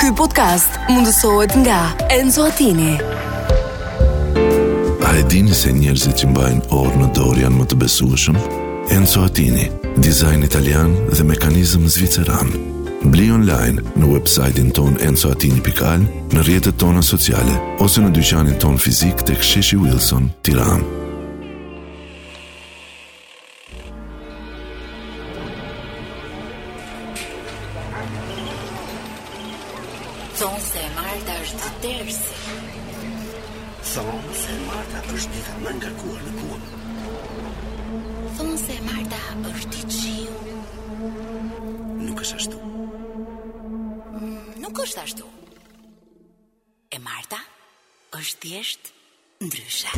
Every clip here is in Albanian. Ky podcast mundësohet nga Enzo Attini. A e dini se njerëzit që mbajnë orë në dorë janë më të besueshëm? Enzo Attini, dizajn italian dhe mekanizëm zviceran. Bli online në website-in ton enzoatini.al, në rjetët tona sociale, ose në dyqanin ton fizik të ksheshi Wilson, tiran. Thonë se e Marta është të tërsi. Thonë se Marta është dita më ngarkuar në kuën. Thonë se e Marta është i qiu. Nuk është ashtu. Mm, Nuk është ashtu. E Marta është thjesht ndryshe.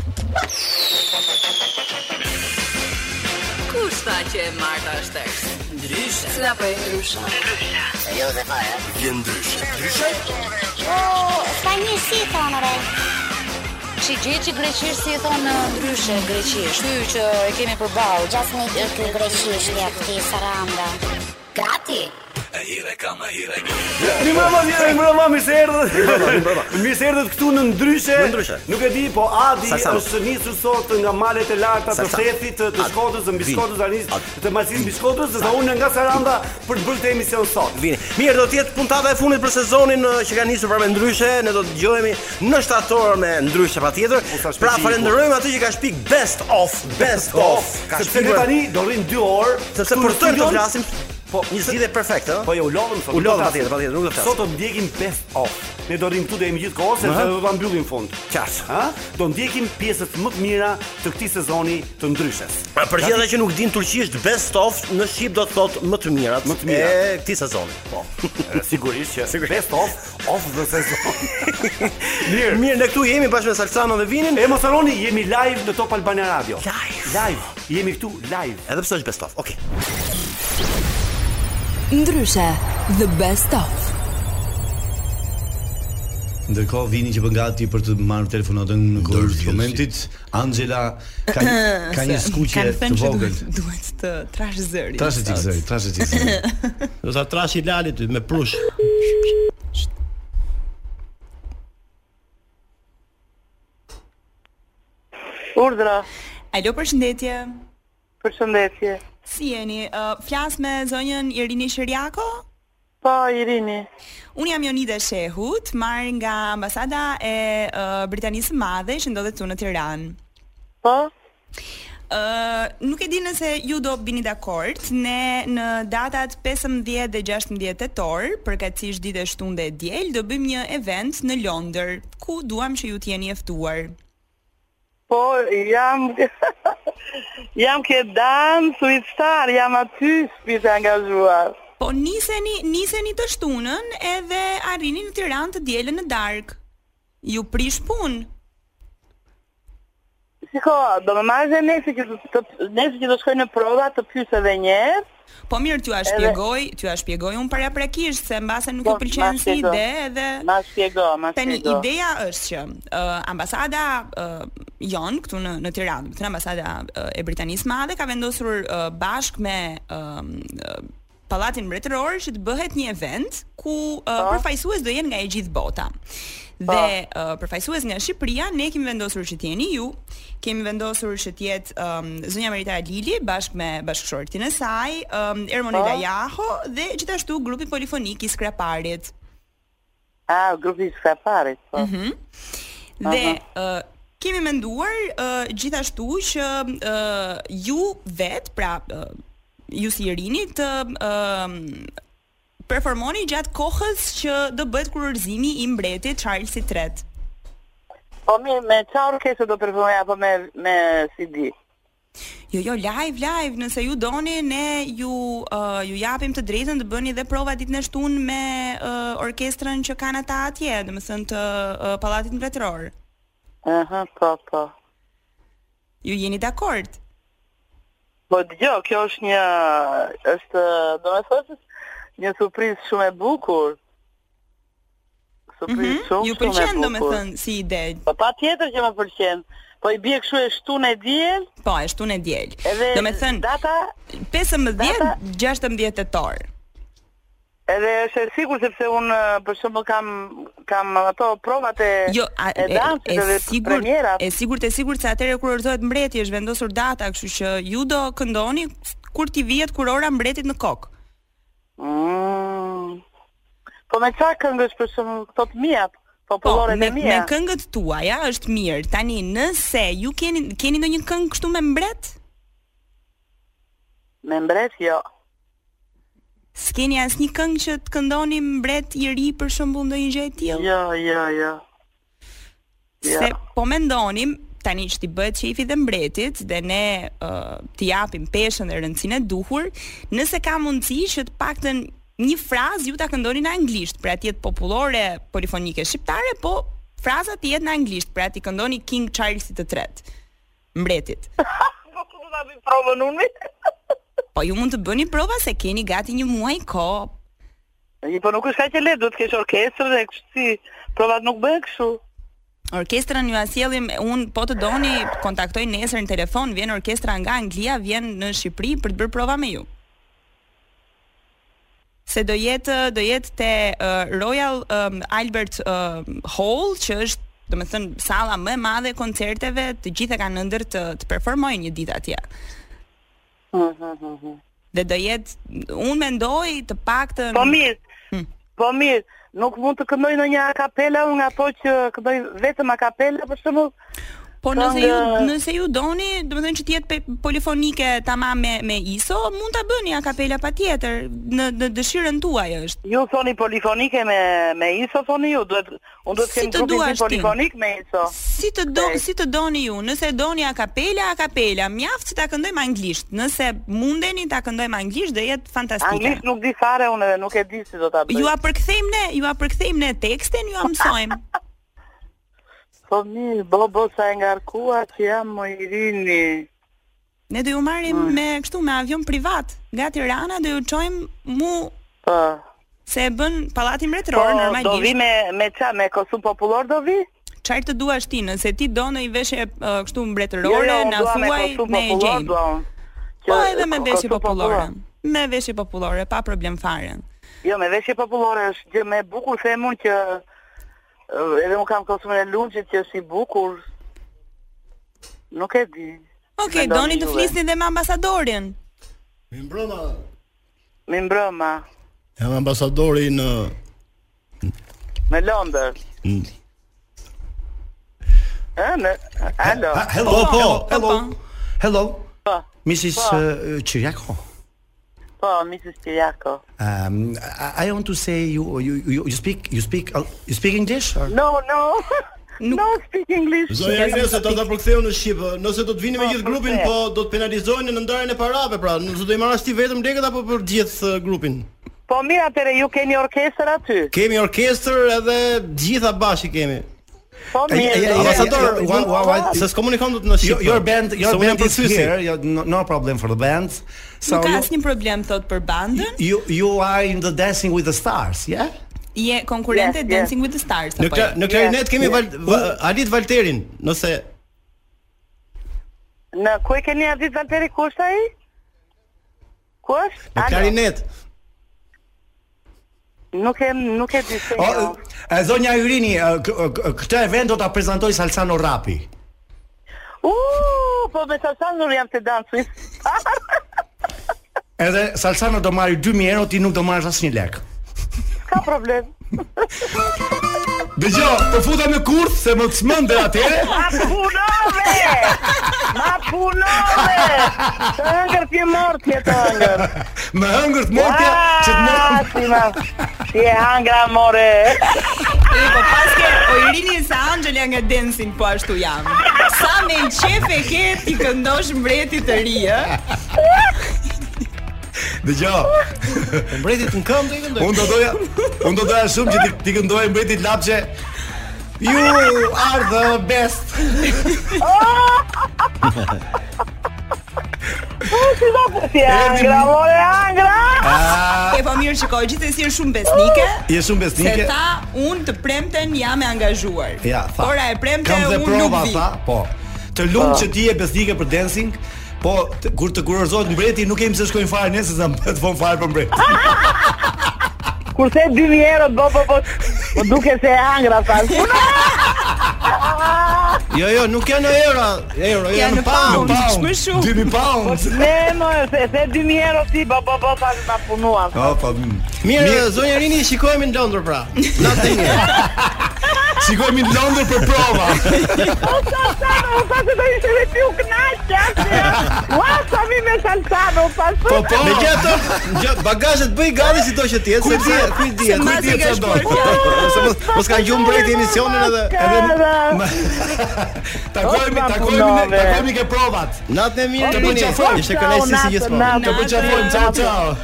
Kush tha që e Marta është tërsi? Ndryshe. Cila po e ndryshe? Vjen ndryshe. S'ka një si thonë re Që gjithë që greqisht si e thonë ndryshe greqisht Ty që e kemi përballë Gjas një i këj greqisht një këti saranda Gati. Mi mama, mi mama, mi se erdhët Mi se erdhët këtu në ndryshe Në ndryshe. Nuk e di, po Adi Sa sa? është nisur sot nga malet e larta të Sa sa? shefit të Adi. shkodës, të mbiskotës, të anis, Adi. të masin mbiskotës Dhe unë nga Saranda për të bërë të emision sot Vini. Mirë, do të jetë puntata e fundit për sezonin ë, që ka nisur para me ndryshe, ne do të dëgjohemi në shtator me ndryshe patjetër. sa shpejt Pra që i falenderojmë atë që ka shpik best of, best of. Ka sepse ne shpikur- tani do rrim 2 orë sepse këtu për në të do studion. flasim. Po, një zgjidhje perfekte, ë? Po jo, u lodhëm sot. U lodhëm, do flasim. patjetër, patjetër, nuk do flasim. Sot do ndjekim best of. Ne do rrim këtu deri më gjithë kohë sepse Aha. do ta mbyllim fund. Qartë. Ha? Do ndjekim pjesët më të mira të këtij sezoni të ndryshes. Pra, Për gjithë ata që nuk din turqisht, best of në shqip do të thotë më të mirat, Më të mirat. e këtij sezoni. Po. E, Sigurisht që best of of the sezon. Mirë. Mirë, ne këtu jemi bashkë me Salsano dhe Vinin. E mos harroni, jemi live në Top Albania Radio. Live. Live. Jemi këtu live. Edhe pse është best of. Okej. Ndryshe, the best of. Ndërkohë vini që bën gati për të marrë telefonatën në kohën e momentit, Angela ka një, ka një skuqje të vogël. duhet të trash zërin. Trashë çik zëri, trashë çik zëri. Do ta trashi Lalit me prush. Urdhra. Alo, përshëndetje. Përshëndetje. Si jeni? Uh, flas me zonjën Irini Shiriako? Po, Irini. Unë jam Jonida Shehut, marrë nga ambasada e uh, Britanisë së Madhe që ndodhet këtu në Tiranë. Po, Uh, nuk e di nëse ju do bini dakord, ne në datat 15 dhe 16 tetor, përkatësisht ditë e shtunde e diel, do bëjmë një event në Londër, ku duam që ju të jeni e ftuar. po, jam... jam ke danë, suitstar, jam aty shpish e angazhuar. Po niseni, niseni të shtunën edhe arrini në Tiranë të dielën në darkë. Ju prish punë. Shiko, do me marrë dhe nesi që të, nesi që të shkoj në prova të pysë edhe njerë, Po mirë, t'ju a shpjegoj, t'ju a shpjegoj unë paraprakisht se mbase nuk Po, ju pëlqen ma si shpjego. ide edhe ma shpjego, ma Tani shpjego. ideja është që uh, ambasada uh, jon këtu në në Tiranë, këtu në ambasada uh, e Britanisë së Madhe ka vendosur uh, bashkë me um, uh, Pallatin Mbretëror që të bëhet një event ku uh, përfaqësues do jenë nga e gjithë bota. Dhe uh, përfaqësues nga Shqipëria ne kemi vendosur që të jeni ju, kemi vendosur që të jetë um, zonja Merita Lili bashkë me bashkëshortin e saj, um, Ermonela Jaho dhe gjithashtu grupi polifonik i Skraparit. A, grupi shka parit, po. Mhm. Dhe uh, kemi menduar uh, gjithashtu që uh, ju vet, pra uh, ju si Irini të um, performoni gjatë kohës që do bëhet kurorëzimi i mbretit Charles III. Po, mi, me qa orkesë do performoja, apo me, me CD? Jo, jo, live, live, nëse ju doni ne ju uh, ju japim të drejtën të bëni dhe prova ditën e shtunë me uh, orkestrën që kanë ata atje, domethënë të uh, Pallatit Mbretëror. Aha, po, po. Ju jeni dakord? Po dëgjoj, kjo është një është do të thotë një surprizë shumë e bukur. Surprizë shumë, Mhm, Ju shumë e pëlqen bukur. domethënë si ide. Po pa tjetër që më pëlqen. Po i bie kështu e shtunë e diel, Po, e shtunë e diel. edhe Domethënë data 15 Data- 16 tetor. Edhe është e sigurt sepse unë për shembull kam kam ato provat e Jo, a, e e, e, dancit edhe sigurt, premierat. e sigurt, e sigurt se atëherë kur orëzohet mbreti është vendosur data, kështu që ju do këndoni kur ti vihet kurora mbretit në kokë. Mm. Po me çfarë këngësh për shembull këto të mia, popullore Po, me, të me mia? këngët tuaja është mirë. Tani nëse ju keni keni ndonjë këngë kështu me mbret? Me mbret jo. S'keni asnjë këngë që të këndoni mbret i ri për shembull ndonjë gjë e tillë? Jo, jo, jo. Se po mendonim tani që ti bëhet shefi dhe mbretit dhe ne uh, ti japim peshën dhe rëndësinë e duhur, nëse ka mundësi që të paktën një frazë ju ta këndoni në anglisht, pra të jetë popullore, polifonike shqiptare, po fraza të jetë në anglisht, pra ti këndoni King Charles të tretë, mbretit. Po ku do ta bëj provën unë? Po ju mund të bëni prova se keni gati një muaj kohë. Jo, po nuk është kaq e lehtë, duhet të kesh orkestrën e kështu si provat nuk bëhen kështu. Orkestrën ju asjellim, un po të doni kontaktoj nesër në telefon, vjen orkestra nga Anglia, vjen në Shqipëri për të bërë prova me ju. Se do jetë do jetë te uh, Royal um, Albert uh, Hall, që është do të thënë salla më e madhe e koncerteve, të gjithë e kanë ndër të, të performojnë një ditë atje. Mhm, Dhe do jetë unë mendoj të paktën Po mirë. Hmm. Po mirë, nuk mund të këndoj në një a kapela unë nga ato që këndoj vetëm a kapela për shembull. uh, Po nëse ju këngë- nëse ju doni, domethënë që të jetë pe- polifonike tamam me me ISO, mund ta bëni a kapela patjetër në në dëshirën tuaj është. Ju thoni polifonike me me ISO thoni ju, duhet unë duhet Si kem të grupin duash tim ti. polifonik me ISO. Si të do, si të doni ju. Nëse doni a kapela, a kapela, mjaft që ta këndojmë anglisht. Nëse mundeni ta këndojmë anglisht, do jetë fantastike. Anglisht nuk di fare unë dhe nuk e di si do ta bëj. Ju a përkthejmë ne, ju a përkthejmë ne tekstin, ju a mësojmë. Po mirë, bo bo sa e ngarkua që jam më i rini. Ne do ju marrim me kështu me avion privat nga Tirana, do ju çojmë mu Po. se e bën pallati Po, mbretëror normalisht. do vi me me ça, me kostum popullor do vi? Çfarë të duash ti, nëse ti do në i veshje uh, kështu mbretërore, na Jo, dua me thuaj kostum ne e popullor gjejmë. dua unë. Po Që- edhe me ko- veshje kostum popullore. Me veshje popullore, pa problem fare. Jo, me veshje popullore është gjë më e bukur them unë që ë, edhe unë kam kostumin e lungjit që është i bukur. Nuk e di. Okej, Mendoni doni të juve. flisni dhe me ambasadorin. Mi mbrëma. Mi mbrëma. Jam ambasadori në Në Londër. Ë, në Alo. Hello, po, hello. Hello. Mrs. Po. eh, uh, Chiriaco. Po, Mrs. Kiriako. Um, I, I want to say you you you, you speak you speak uh, you speak English? Or? No, no. No speak English. Zonja Rinese do ta përktheu në shqip. ë, Nëse do të vini me Po, gjithë grupin, përkthe. po do të penalizojnë në ndarjen e parave, pra, nëse do i marrësh ti vetëm lekët apo për gjithë ë, grupin. Po mirë, atëre ju keni orkestër aty. Kemi orkestër edhe gjitha bashkë kemi. Po Ai- ai- ai- mirë. ai- Ambasador, ai- ai- ai- ai- se s'komunikon dot në Your, shqip. Jo, pra. your band your se unë jam band is përkthyesi. here. You, no, no problem for the band. So Nuk ka you, asnjë problem thot për bandën. you you are in the dancing with the stars, yeah? Je konkurrente Yes, yes. Dancing with the Stars Në apo. kla- jo? në klarinet kemi Val, Va, Alit Valterin, nëse Në ku e keni Adit Valteri ku është ai? Ku është? në Alo. klarinet. Nuk e nuk e di se. O, jo. e, Eh, zonja Yrini, e, k- e, k- këtë event do ta prezantoj Salsano Rapi. U, po me Salsan nuk jam të dancuis. Edhe Salsano do marrë 2000 euro, ti nuk do marrësh asnjë lek. Ka problem. Dëgjoj, po futa me kurth se më çmendë atëre. Ma punove! Ma punove! Të hëngër t'je mortje, të hëngër. Më hëngër të mortje, që të mortje. Ah, Si, ma, si e hangra more. E, po paske o i rini sa Angela nga Dancing po ashtu jam. Sa me i qef e ke ti këndosh mbretit të ri, ë? Dëgjoj. Po Mbretit në këmbë i këndoj. Unë do doja, unë do doja shumë që ti, ti këndoj mbetit lapçe. You are the best. Po, si ma po si e hangra more, hangra! Ah. E po mirë shikoj, gjithsesi është shumë besnike. Je shumë Se besnike. tha, unë të premten jam e angazhuar. Ja, tha. Ora e premte Kam dhe unë prova nuk vi. tha, po. Të lumt Po. që ti je besnike për dancing, po të, Ah, kur të kurorzohet mbreti nuk kemi se shkojnë fare ne se sa mbet fon fare për mbret. Kur the 2000 euro do po po po duke se e hangra fal. Jo, jo, nuk janë euro, euro, janë pound. më shumë. 2000 Po pound. ne më se se 2000 euro ti po po po tash na punuan. Oh, po. Mirë, zonja Rini, shikohemi në Londër pra. Shikojmë në Londër për prova. Salsano, sa se do ishte dhe ti u knaqja. Ua, sa mi me salsano, pas. Po po. Me gjë ato, gjë bagazhet bëj gati si do që të jetë, Ku sepse di- ku di, se ku mas di e ka çfarë do. shpërqarë. Ose mos mos kanë gjumë mbreti emisionin edhe edhe Takojmë, takojmë, takojmë ke provat. natën e mirë Të Rini. përqafojmë. Ishte kënaqësi si gjithmonë. Të përqafojmë. Ciao, ciao.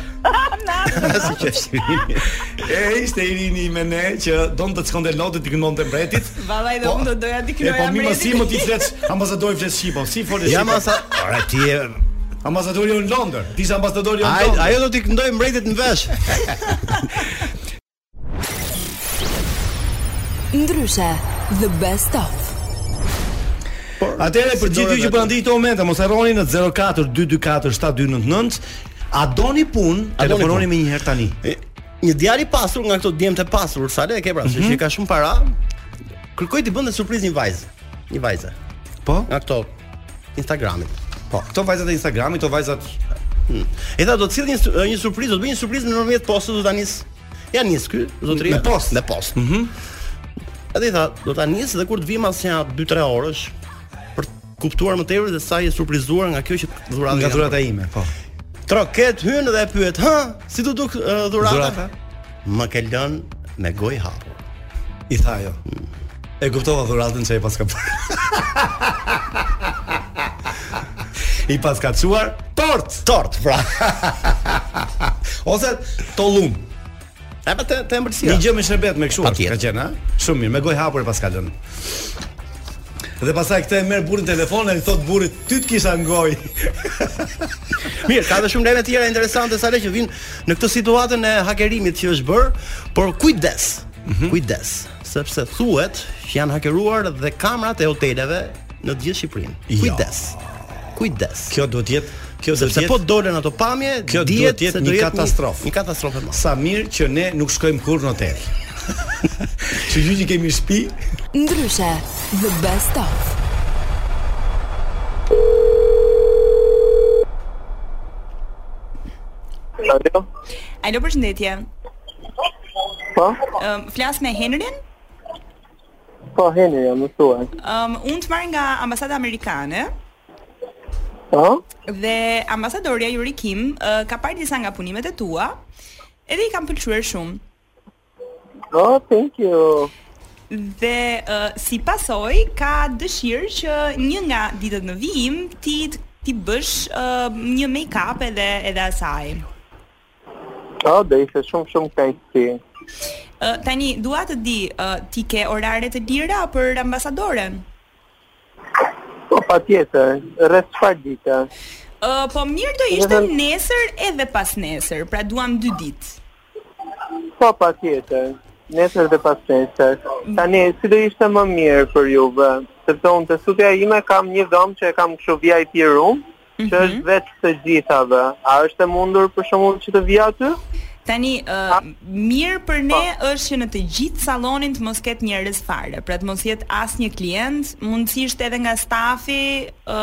Si qofshi Rini. E ishte Irini me ne që donte të shkonte lodë të këndonte mbretit. Vallaj dhe unë do doja t'i E po knoja mi mos si mbretit. më ti flet ambasadori flet shqipo, si flet shqipo. Ja, ma sa- ora ti je ambasadori unë në Londër. Ti je ambasadori unë në Ai- Londër. Ajo do t'i këndoj mbretit në vesh. Ndryshe, the best of. Atëherë për gjithë ju që po na ndiqni këto momente, mos harroni në 04 224 7299. A doni punë? A doni Telefononi punë? me një herë tani. Një djalë i pasur nga këto djemt e pasur, sa le e ke pra, se që ka shumë para, kërkoi t'i bënte surprizë një vajzë. Një vajze. Po? Nga këto Instagramit. Po, këto vajzat e Instagramit, këto vajzat Hmm. E tha do të sill një sur- një surprizë, do të bëj një surprizë nëpërmjet postës do ta nis. Ja nis ky, zotëri. Në post. në post. Mhm. Edhe i tha, do ta nis dhe kur të vim asnjë 2-3 orësh për të kuptuar më tepër se sa je surprizuar nga kjo që dhurata. nga jam. dhurata ime, po. Troket hyn dhe e pyet, "Hë, si do duk uh, dhurata?" Dhurata? Më ke lënë me gojë hapur. I tha ajo. E kuptova dhuratën që ai pas ka bërë. I pas ka çuar tort, tort, pra. Ose tollum. E pa te te ëmbëlsira. Një gjë me shërbet me kështu Patjetër. ka qenë, ha? Shumë mirë, me gojë hapur e pas ka lënë. Dhe pastaj këtë e merr burrin telefon e i thot burrit, ty të kisha në gojë. Mirë, ka edhe shumë lajme të tjera interesante sa le që vinë në këtë situatën e hakerimit që është bërë, por kujdes. Mhm. Kujdes, sepse thuhet që janë hakeruar dhe kamrat e hoteleve në të gjithë Shqipërinë. Jo. Kujdes. Kujdes. Kjo duhet të jetë, kjo duhet Sepse të po jetë dolen ato pamje, Kjo dihet duhet të se jetë do një jetë katastrofë. Një katastrofë e madhe. Sa mirë që ne nuk shkojmë kurrë në hotel. që gjë që kemi shtëpi, Ndryshe, the best of. Alo. Alo, përshëndetje. Po, Ëm flas me Henryn. po heni jam më thuaj. Ëm unë të marr nga ambasada amerikane. Po? Dhe ambasadorja Yuri Kim ë, ka parë disa nga punimet e tua edhe i kam pëlqyer shumë. Oh, thank you. Dhe ë, si pasoj ka dëshirë që një nga ditët në vijim ti ti bësh ë, një make-up edhe edhe asaj. Oh, do ishte shumë shumë kënaqësi. Ë, tani dua të di ë, ti ke orare të lira për ambasadoren? Po patjetër, rreth çfarë dite? Ë, po mirë do ishte nesër edhe pas nesër, pra duam dy ditë. Po patjetër. Nesër dhe pas nesër. Tani si do ishte më mirë për juve, sepse unë te studja ime kam një dhomë që e kam kështu VIP room, që është vetë të gjithave. A është e mundur për shembull që të vi aty? Tani uh, mirë për ne është që në të gjithë sallonin të mos ketë njerëz fare, pra të mos jetë asnjë klient, mundësisht edhe nga stafi ë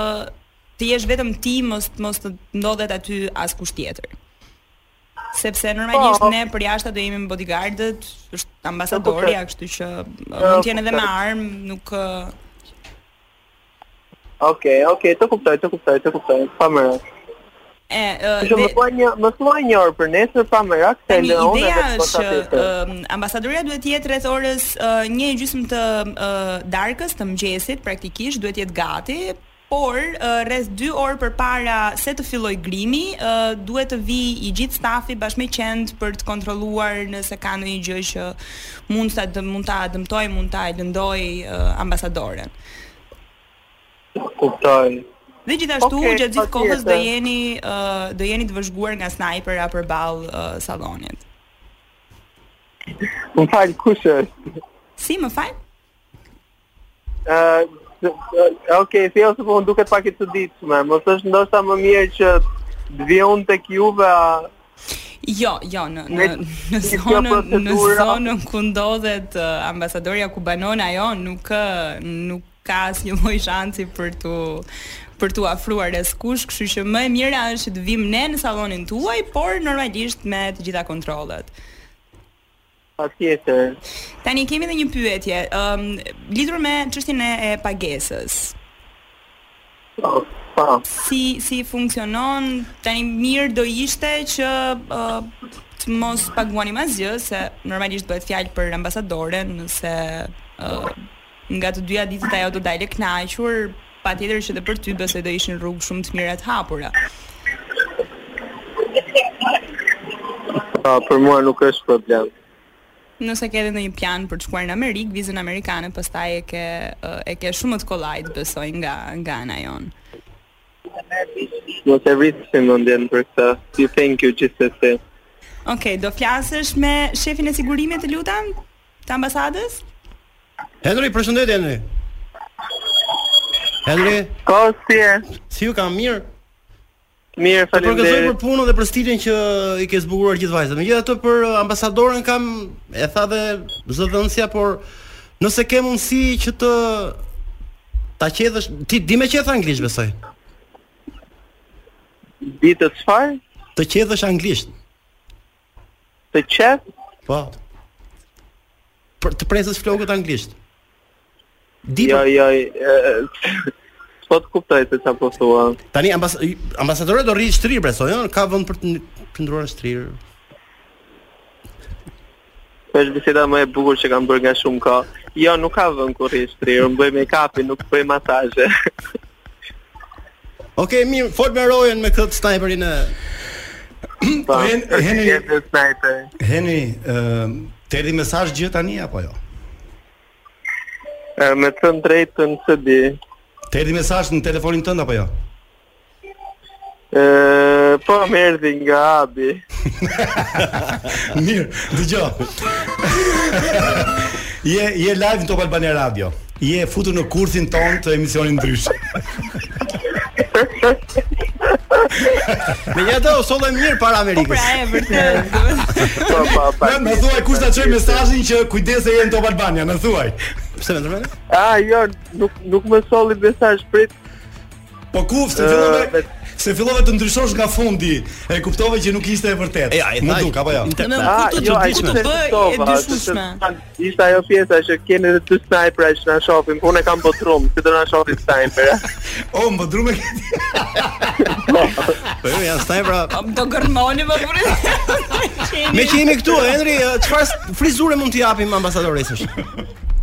të jesh vetëm ti, mos mos të ndodhet aty askush tjetër. Sepse normalisht Po. ne për jashtë do jemi me bodyguardët, është Po, ambasadorja, po, kështu që ë, Po, mund të jenë edhe po, me armë, nuk ë, Okej, okej, të kuptoj, të kuptoj, të kuptoj. Pa merak. e ë, Për dhe- shembull, më thuaj një, më thuaj një orë për nesër pa merak se Tani Leon ideja edhe është që që um, ambasadoria duhet të jetë rreth orës uh, një e gjysmë të uh, darkës të mëngjesit praktikisht duhet të jetë gati, por uh, rreth 2 orë përpara se të filloj grimi, uh, duhet të vi i gjithë stafi bashkë me qend për të kontrolluar nëse ka ndonjë gjë që mund ta dë- mund ta dëmtoj, mund ta lëndoj uh, ambasadoren. kuptoj. Dhe gjithashtu Okej, gjatë gjithë kohës do patjetër. jeni uh, do jeni të vëzhguar nga snajpera përballë uh, sallonit. Më fal kush është? Si më fal? Ë, okay, thjesht po më duket pak e çuditshme. Mos është ndoshta më mirë që të vi unë tek juve a Jo, jo, në në, Me- në me kjo zonën në procedura- zonën ku ndodhet uh, ambasadorja ku banon ajo nuk ë, nuk ka asnjë lloj shansi për tu për tu afruar askush, kështu që më e mira është të vim ne në sallonin tuaj, por normalisht me të gjitha kontrollet. Patjetër. Tani kemi edhe një pyetje, ëm lidhur me çështjen e e pagesës. Po. si si funksionon tani mirë do ishte që ë, të mos paguani asgjë se normalisht bëhet fjalë për ambasadoren se ë, nga të dyja ditët ajo do dalë e kënaqur patjetër që dhe për ty besoj do ishin rrugë shumë të mira të hapura. Po, për mua nuk është problem. Nëse ke edhe ndonjë plan për të shkuar në Amerikë, vizën amerikane pastaj e ke ë, e ke shumë më të kollajt besoj nga nga ana jon. Mos e vritshim mendjen për këtë. Ju thank you gjithsesi. Okej, do flasësh me shefin e sigurimit të lutam të ambasadës? Henry, përshëndetje Henry. Henry, Po, si e? si ju kam mirë? Mirë, Të përgëzoj për faleminderit. punën dhe për stilin që i ke zbukuruar gjithë vajzat. Megjithatë për uh, ambasadorën kam e tha dhe zëdhënësja, por nëse ke mundësi që të ta qedhësh, ti di me qeth anglisht besoj. Di të çfarë? Të qedhësh anglisht. Të qef? Po. Për të presësh flokët anglisht. Di Jo, jo. e, Po të kuptoj se çfarë po thua. Tani ambas ambasadorët do rritë shtrirë besoj, ëh, ka vend për të n- për ndruar shtrirë. Është biseda më e bukur që kam bërë nga shumë kohë. Jo, nuk ka vënë kurrë shtrirë, unë bëj make-upin, nuk bëj masazhe. Okej, mirë, fol me rojen me këtë sniperin e Po, Hen- është Henry- tjetër sniper. Heni, ë, të erdhi mesazh gjë tani apo jo? E, Me të thënë drejtën se di. Të erdhi mesazh në telefonin tënd apo jo? E, po më erdhi nga Abi. Mirë, dëgjoj. je je live në Top Albania Radio. Je futur në kursin ton të emisionit ndryshe. Megjithatë u sollën mirë para Amerikës. Pra e vërtet. Po, po, po. Na më thuaj kush ta çoj mesazhin që kujdese je në Top Albania, më thuaj. Pse më ndërmend? Ah, jo, nuk nuk më solli mesazh prit. Po ku se Ë, Ah, fillove me- se fillove të ndryshosh nga fundi, e kuptove që nuk ishte e vërtetë. Ja, e Më thaj. duk apo jo? Në më Ah, ku të jo, ai ku të ishte bëj e Kosova, dyshueshme. është- Ishte ajo pjesa që keni edhe dy sniper që na shohin. Unë e kam botrum, si do na shohin sniper. O, më drume këtë. Po jo, janë snipera. Do gërmoni po, më burë. Me që jemi këtu, Henry, ë, çfarë s- frizure mund t'i japim ambasadoresës?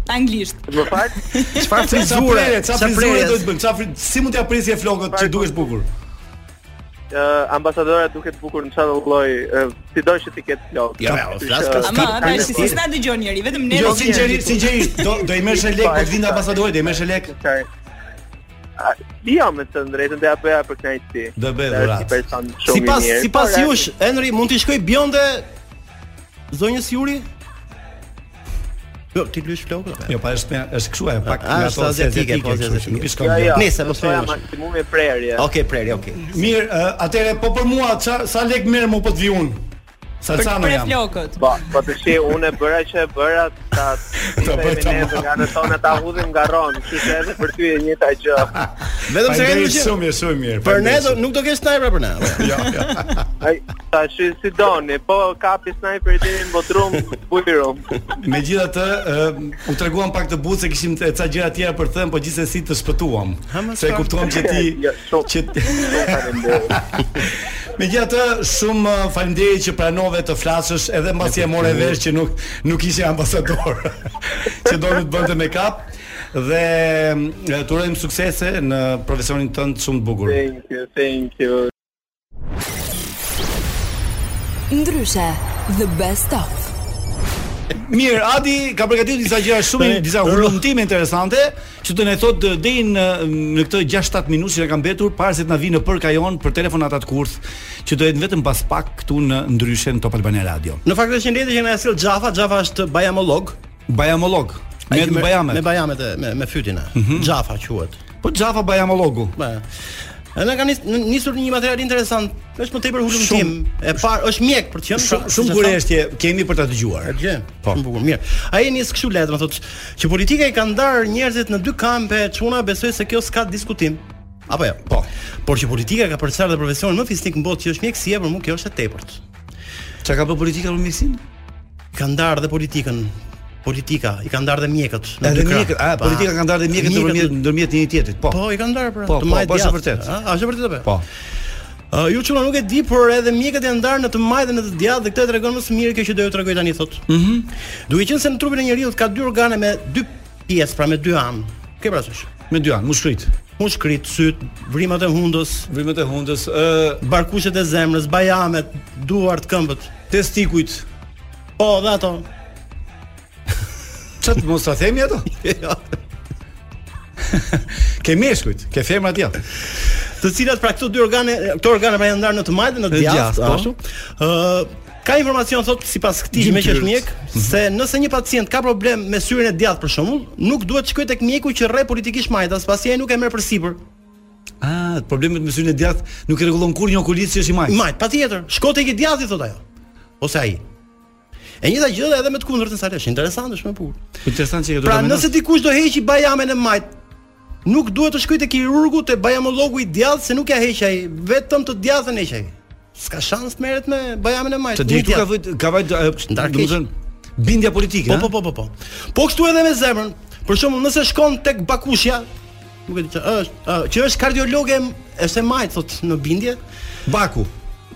anglisht. Më fal, Çfarë frizure? Frizure, çfarë çfarë frizure do të bën? Çfarë fri- si mund t'ia prisje flokët që dukesh bukur? ë, ambasadora duket bukur në çfarë lloj, ë, si do që ti ketë flok. Ja, ja, o, flas ka- Ama Ka- tash ka- Ah, si s'na dëgjon njëri, vetëm ne. Jo, do sinqerisht, sinqerisht, do do i merresh lek po të vinë ambasadorët, do i merresh lek. Çaj. Jo, me të drejtën dhe apo ja për kënaqësi. Do bëj Është dhurat. një person shumë i Sipas mirë. sipas Po, jush, Henry mund t'i shkoj Bjonde zonjës Juri? Jo, ti lysh flokët. apo? Jo, pa është me- është kështu ajo, pak A, është aziatike, po, kështu që aziatike. Nuk i shkon. Jo, gjë. jo. Nese, po shoja shohim. maksimumi prerje. Okej, preri, okej. Mirë, ë, atëre po për mua ça sa lek merr më po të vi unë. Për të Salcano pre jam. flokët. Po, po të shi, unë e bëra që e bëra ta Ta ta bëj bëj tamam. nga në tonë ta hudhim nga ron, kështu që edhe për ty e njëjta gjë. Vetëm se Henry Faleminderit që shumë, je shumë mirë. për ne faleminderit do shumë. nuk do kesh snipera për ne. apo? Jo, jo. Ai tash si doni, po kapi snajper deri në botrum, bujrum. Megjithatë, ë, u treguam pak të butë se kishim të- ca gjëra tjera për të thënë, po gjithsesi të shpëtuam. Ha, më Se sa. kuptuam që ti Jo, shumë. që Faleminderit. Megjithatë, shumë ë, faleminderit që pranove të flasësh edhe mbasi e more vesh që nuk nuk ishe ambasador. që donë të bënte me kap dhe ë, të urojmë suksese në profesionin tënd shumë të bukur. Thank you, thank you. Ndryshe, the best of. Mirë, Adi ka përgatitur disa gjëra shumë disa hulumtime interesante që do ne thot eh, deri në në këtë 6-7 minutë që na kanë mbetur para se të na vinë në për kajon për telefonata të kurth që do jetë vetëm pas pak këtu në ndryshe në Top Albania Radio. Në fakt është një letër që na e sill Xhafa, Xhafa është bajamolog. Bajamolog, me Ai që me bajamet. Me bajamet e me, me fytin. Xhafa quhet. Po Xhafa bajamologu. Ba. Edhe ka nis- nisur një material interesant, është më tepër hulumtim. E parë është mjek për të qenë pra, Shumë siç e shumë tha. kuriozitje kemi për ta dëgjuar. Atje. Po. Shumë bukur, mirë. Ai nis kështu lehtë, më thotë që politika i ka ndarë njerëzit në dy kampe, çuna besoj se kjo s'ka diskutim. Apo jo. Po. Por që politika ka përcjellë dhe profesionin më fisnik në botë që është mjekësia, për mua kjo është e tepërt. Çka ka bërë politika për mjekësinë? Ka ndarë dhe politikën. Politika i ka ndarë dhe mjekët. në Edhe dy krah. mjekët, a Pa. politika kanë ndarë dhe mjekët ndërmjet ndërmjet një tjetrit. Po. Po, i kanë ndarë pra. Po, të po, majtë po, është e djathtë. vërtet. A, a, është e vërtetë apo? Po. Uh, ju çuna nuk e di, por edhe mjekët janë ndarë në të majtë dhe në të djathtë dhe këtë e tregon më së miri kjo që do ju tregoj tani thotë. Mhm. Duke qenë se në trupin e njeriu ka dy organe me dy pjesë, pra me dy anë. Ke parasysh? Me dy anë, mushkrit. Mushkrit, syt, vrimat e hundës, vrimat e hundës, ë barkushet e zemrës, bajamet, duart, këmbët, testikujt. Po, dhe ato. Çat mos ta themi ato? Jo. Ke meshkujt, ke femrat janë. të cilat pra këto dy organe, këto organe pra janë ndarë në të majtë dhe në të Në djathtë, djathtë, ashtu. Ë ka informacion thotë sipas këtij Gjim Mhm. me që është Pyrt. mjek se nëse një pacient ka problem me syrin e djathtë për shembull, nuk duhet të shkojë tek mjeku që rre politikisht majtas, pasi ai nuk e merr përsipër. Ah, problemet me syrin e djathtë nuk i rregullon kur një okulist që është i majt. Majt, patjetër. Shko tek i djathtë thotë ajo. Ose ai. E njëjta gjë edhe me të kundërtën sa është interesante, është më bukur. Interesant që e do Pra ta mendosh. nëse dikush do heqi bajamen e majt, nuk duhet të shkojë te kirurgu, te bajamologu i djathtë se nuk ja heq ai, vetëm të djathtën heq ai. S'ka shans të merret me bajamen e majt. Të nuk di ka djathtë. vëjt ka vëjt ndarë keq. domethënë bindja politike, Po po po po po. Po kështu edhe me zemrën. Për shembull, nëse shkon tek Bakushja, nuk e di çfarë është, ë, që është kardiologe, është e majt thot në bindje. Baku.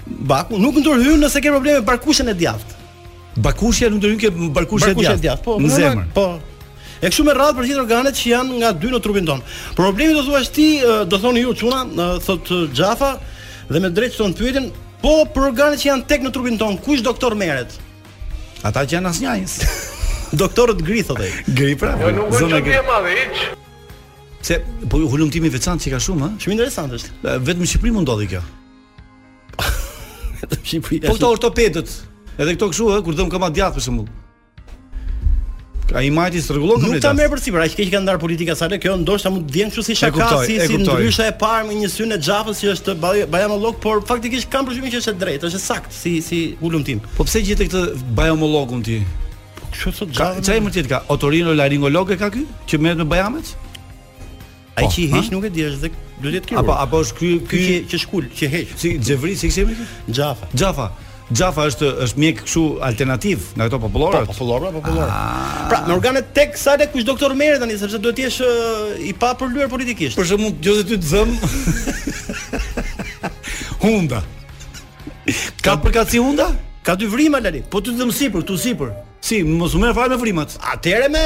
Baku nuk ndërhyn nëse ke probleme me barkushën e djathtë. Bakushja nuk do hynë ke barkushja e Barkushja e djathtë. po. Në normal, zemër. Po. E kështu me radhë për gjithë organet që janë nga dy në trupin tonë. Problemi do thuash ti, ë, do thoni ju çuna, ë, thot ë, Xhafa, dhe me drejtë ton pyetin, po për organet që janë tek në trupin tonë, kush doktor merret? Ata që janë asnjajës. Doktorët gri thotë ai. Gri pra. Zona gri. Se po hulumtimi i veçantë që ka shumë, ëh. Shumë interesant është. Vetëm në Shqipëri mund ndodhi kjo. Vetëm në Shqipëri. Po këto ortopedët, edhe këto kështu ëh, kur dëm kama djathtë për shembull. Ai majti rregullon Nuk komplet ta atë. merr përsipër, aq keq ka ndarë politika sa le kjo, ndoshta mund të vjen kështu si shaka, kuptoj, si e si kuptoj. ndrysha e parë me një synë e xhafës që është baj- bajamolog, por faktikisht kam përshtypjen që është e drejtë, është e saktë si si hulumtim. Po pse gjithë këtë bajomologun ti? Po, Kështu sot Ka çaj më tjetër ka? Otorino laringolog e ka ky që merret me bajamet? Ai që i Po, ha? heq nuk e di, është dhe duhet të jetë kirurg. Apo apo është ky ky ky që, që shkul, që heq, si Xhevri si kishemi ky? xhafa. Xhafa. Xhafa është është mjek kështu alternativ nga ato popullore. Ah. Po, popullore, popullore. Pra, në organet tek sa le kush doktor merret tani, sepse duhet të jesh ë, i pa përlyer politikisht. Për shembull, gjose ty të zëm. Hunda. Ka përkaci hunda? Ka dy vrima Lali. Po ty të zëm sipër, tu sipër. Si, mos u merr fare me vrimat. Atëre me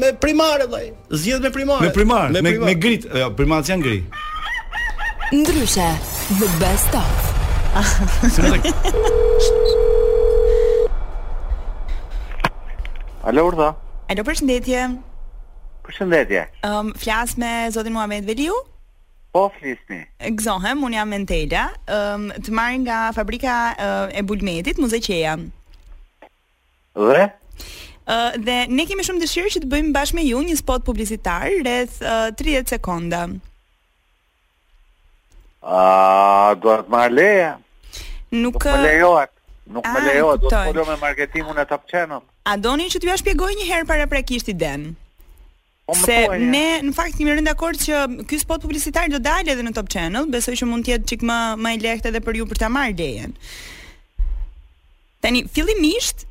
me primare vllai. Zgjidhet me primare. Me primar, me me, primar. grit, jo, primat janë gri. Ndryshe, the best of. Alo urdha. Alo, përshëndetje. Përshëndetje. Ëm flas me zotin Muhamet Veliu. Po flisni. Gëzohem, unë jam Mentela, ëm të marr nga fabrika ë, e Bulmetit, Muzeqeja. Dhe Ë dhe ne kemi shumë dëshirë që të bëjmë bashkë me ju një spot publicitar rreth ë, 30 sekonda. a do të marr leje? Nuk Nuk më ë, lejohet. Nuk më Ah, lejohet, do të kuptoj. foloj me marketingun e Top Channel. a doni që t'ju ja shpjegoj një herë paraprakisht idenë? Po më Se thuaj, ne në fakt jemi rënë dakord që ky spot publicitar do dalë edhe në Top Channel, besoj që mund të jetë çik më më e lehtë edhe për ju për ta marrë lejen. Tani fillimisht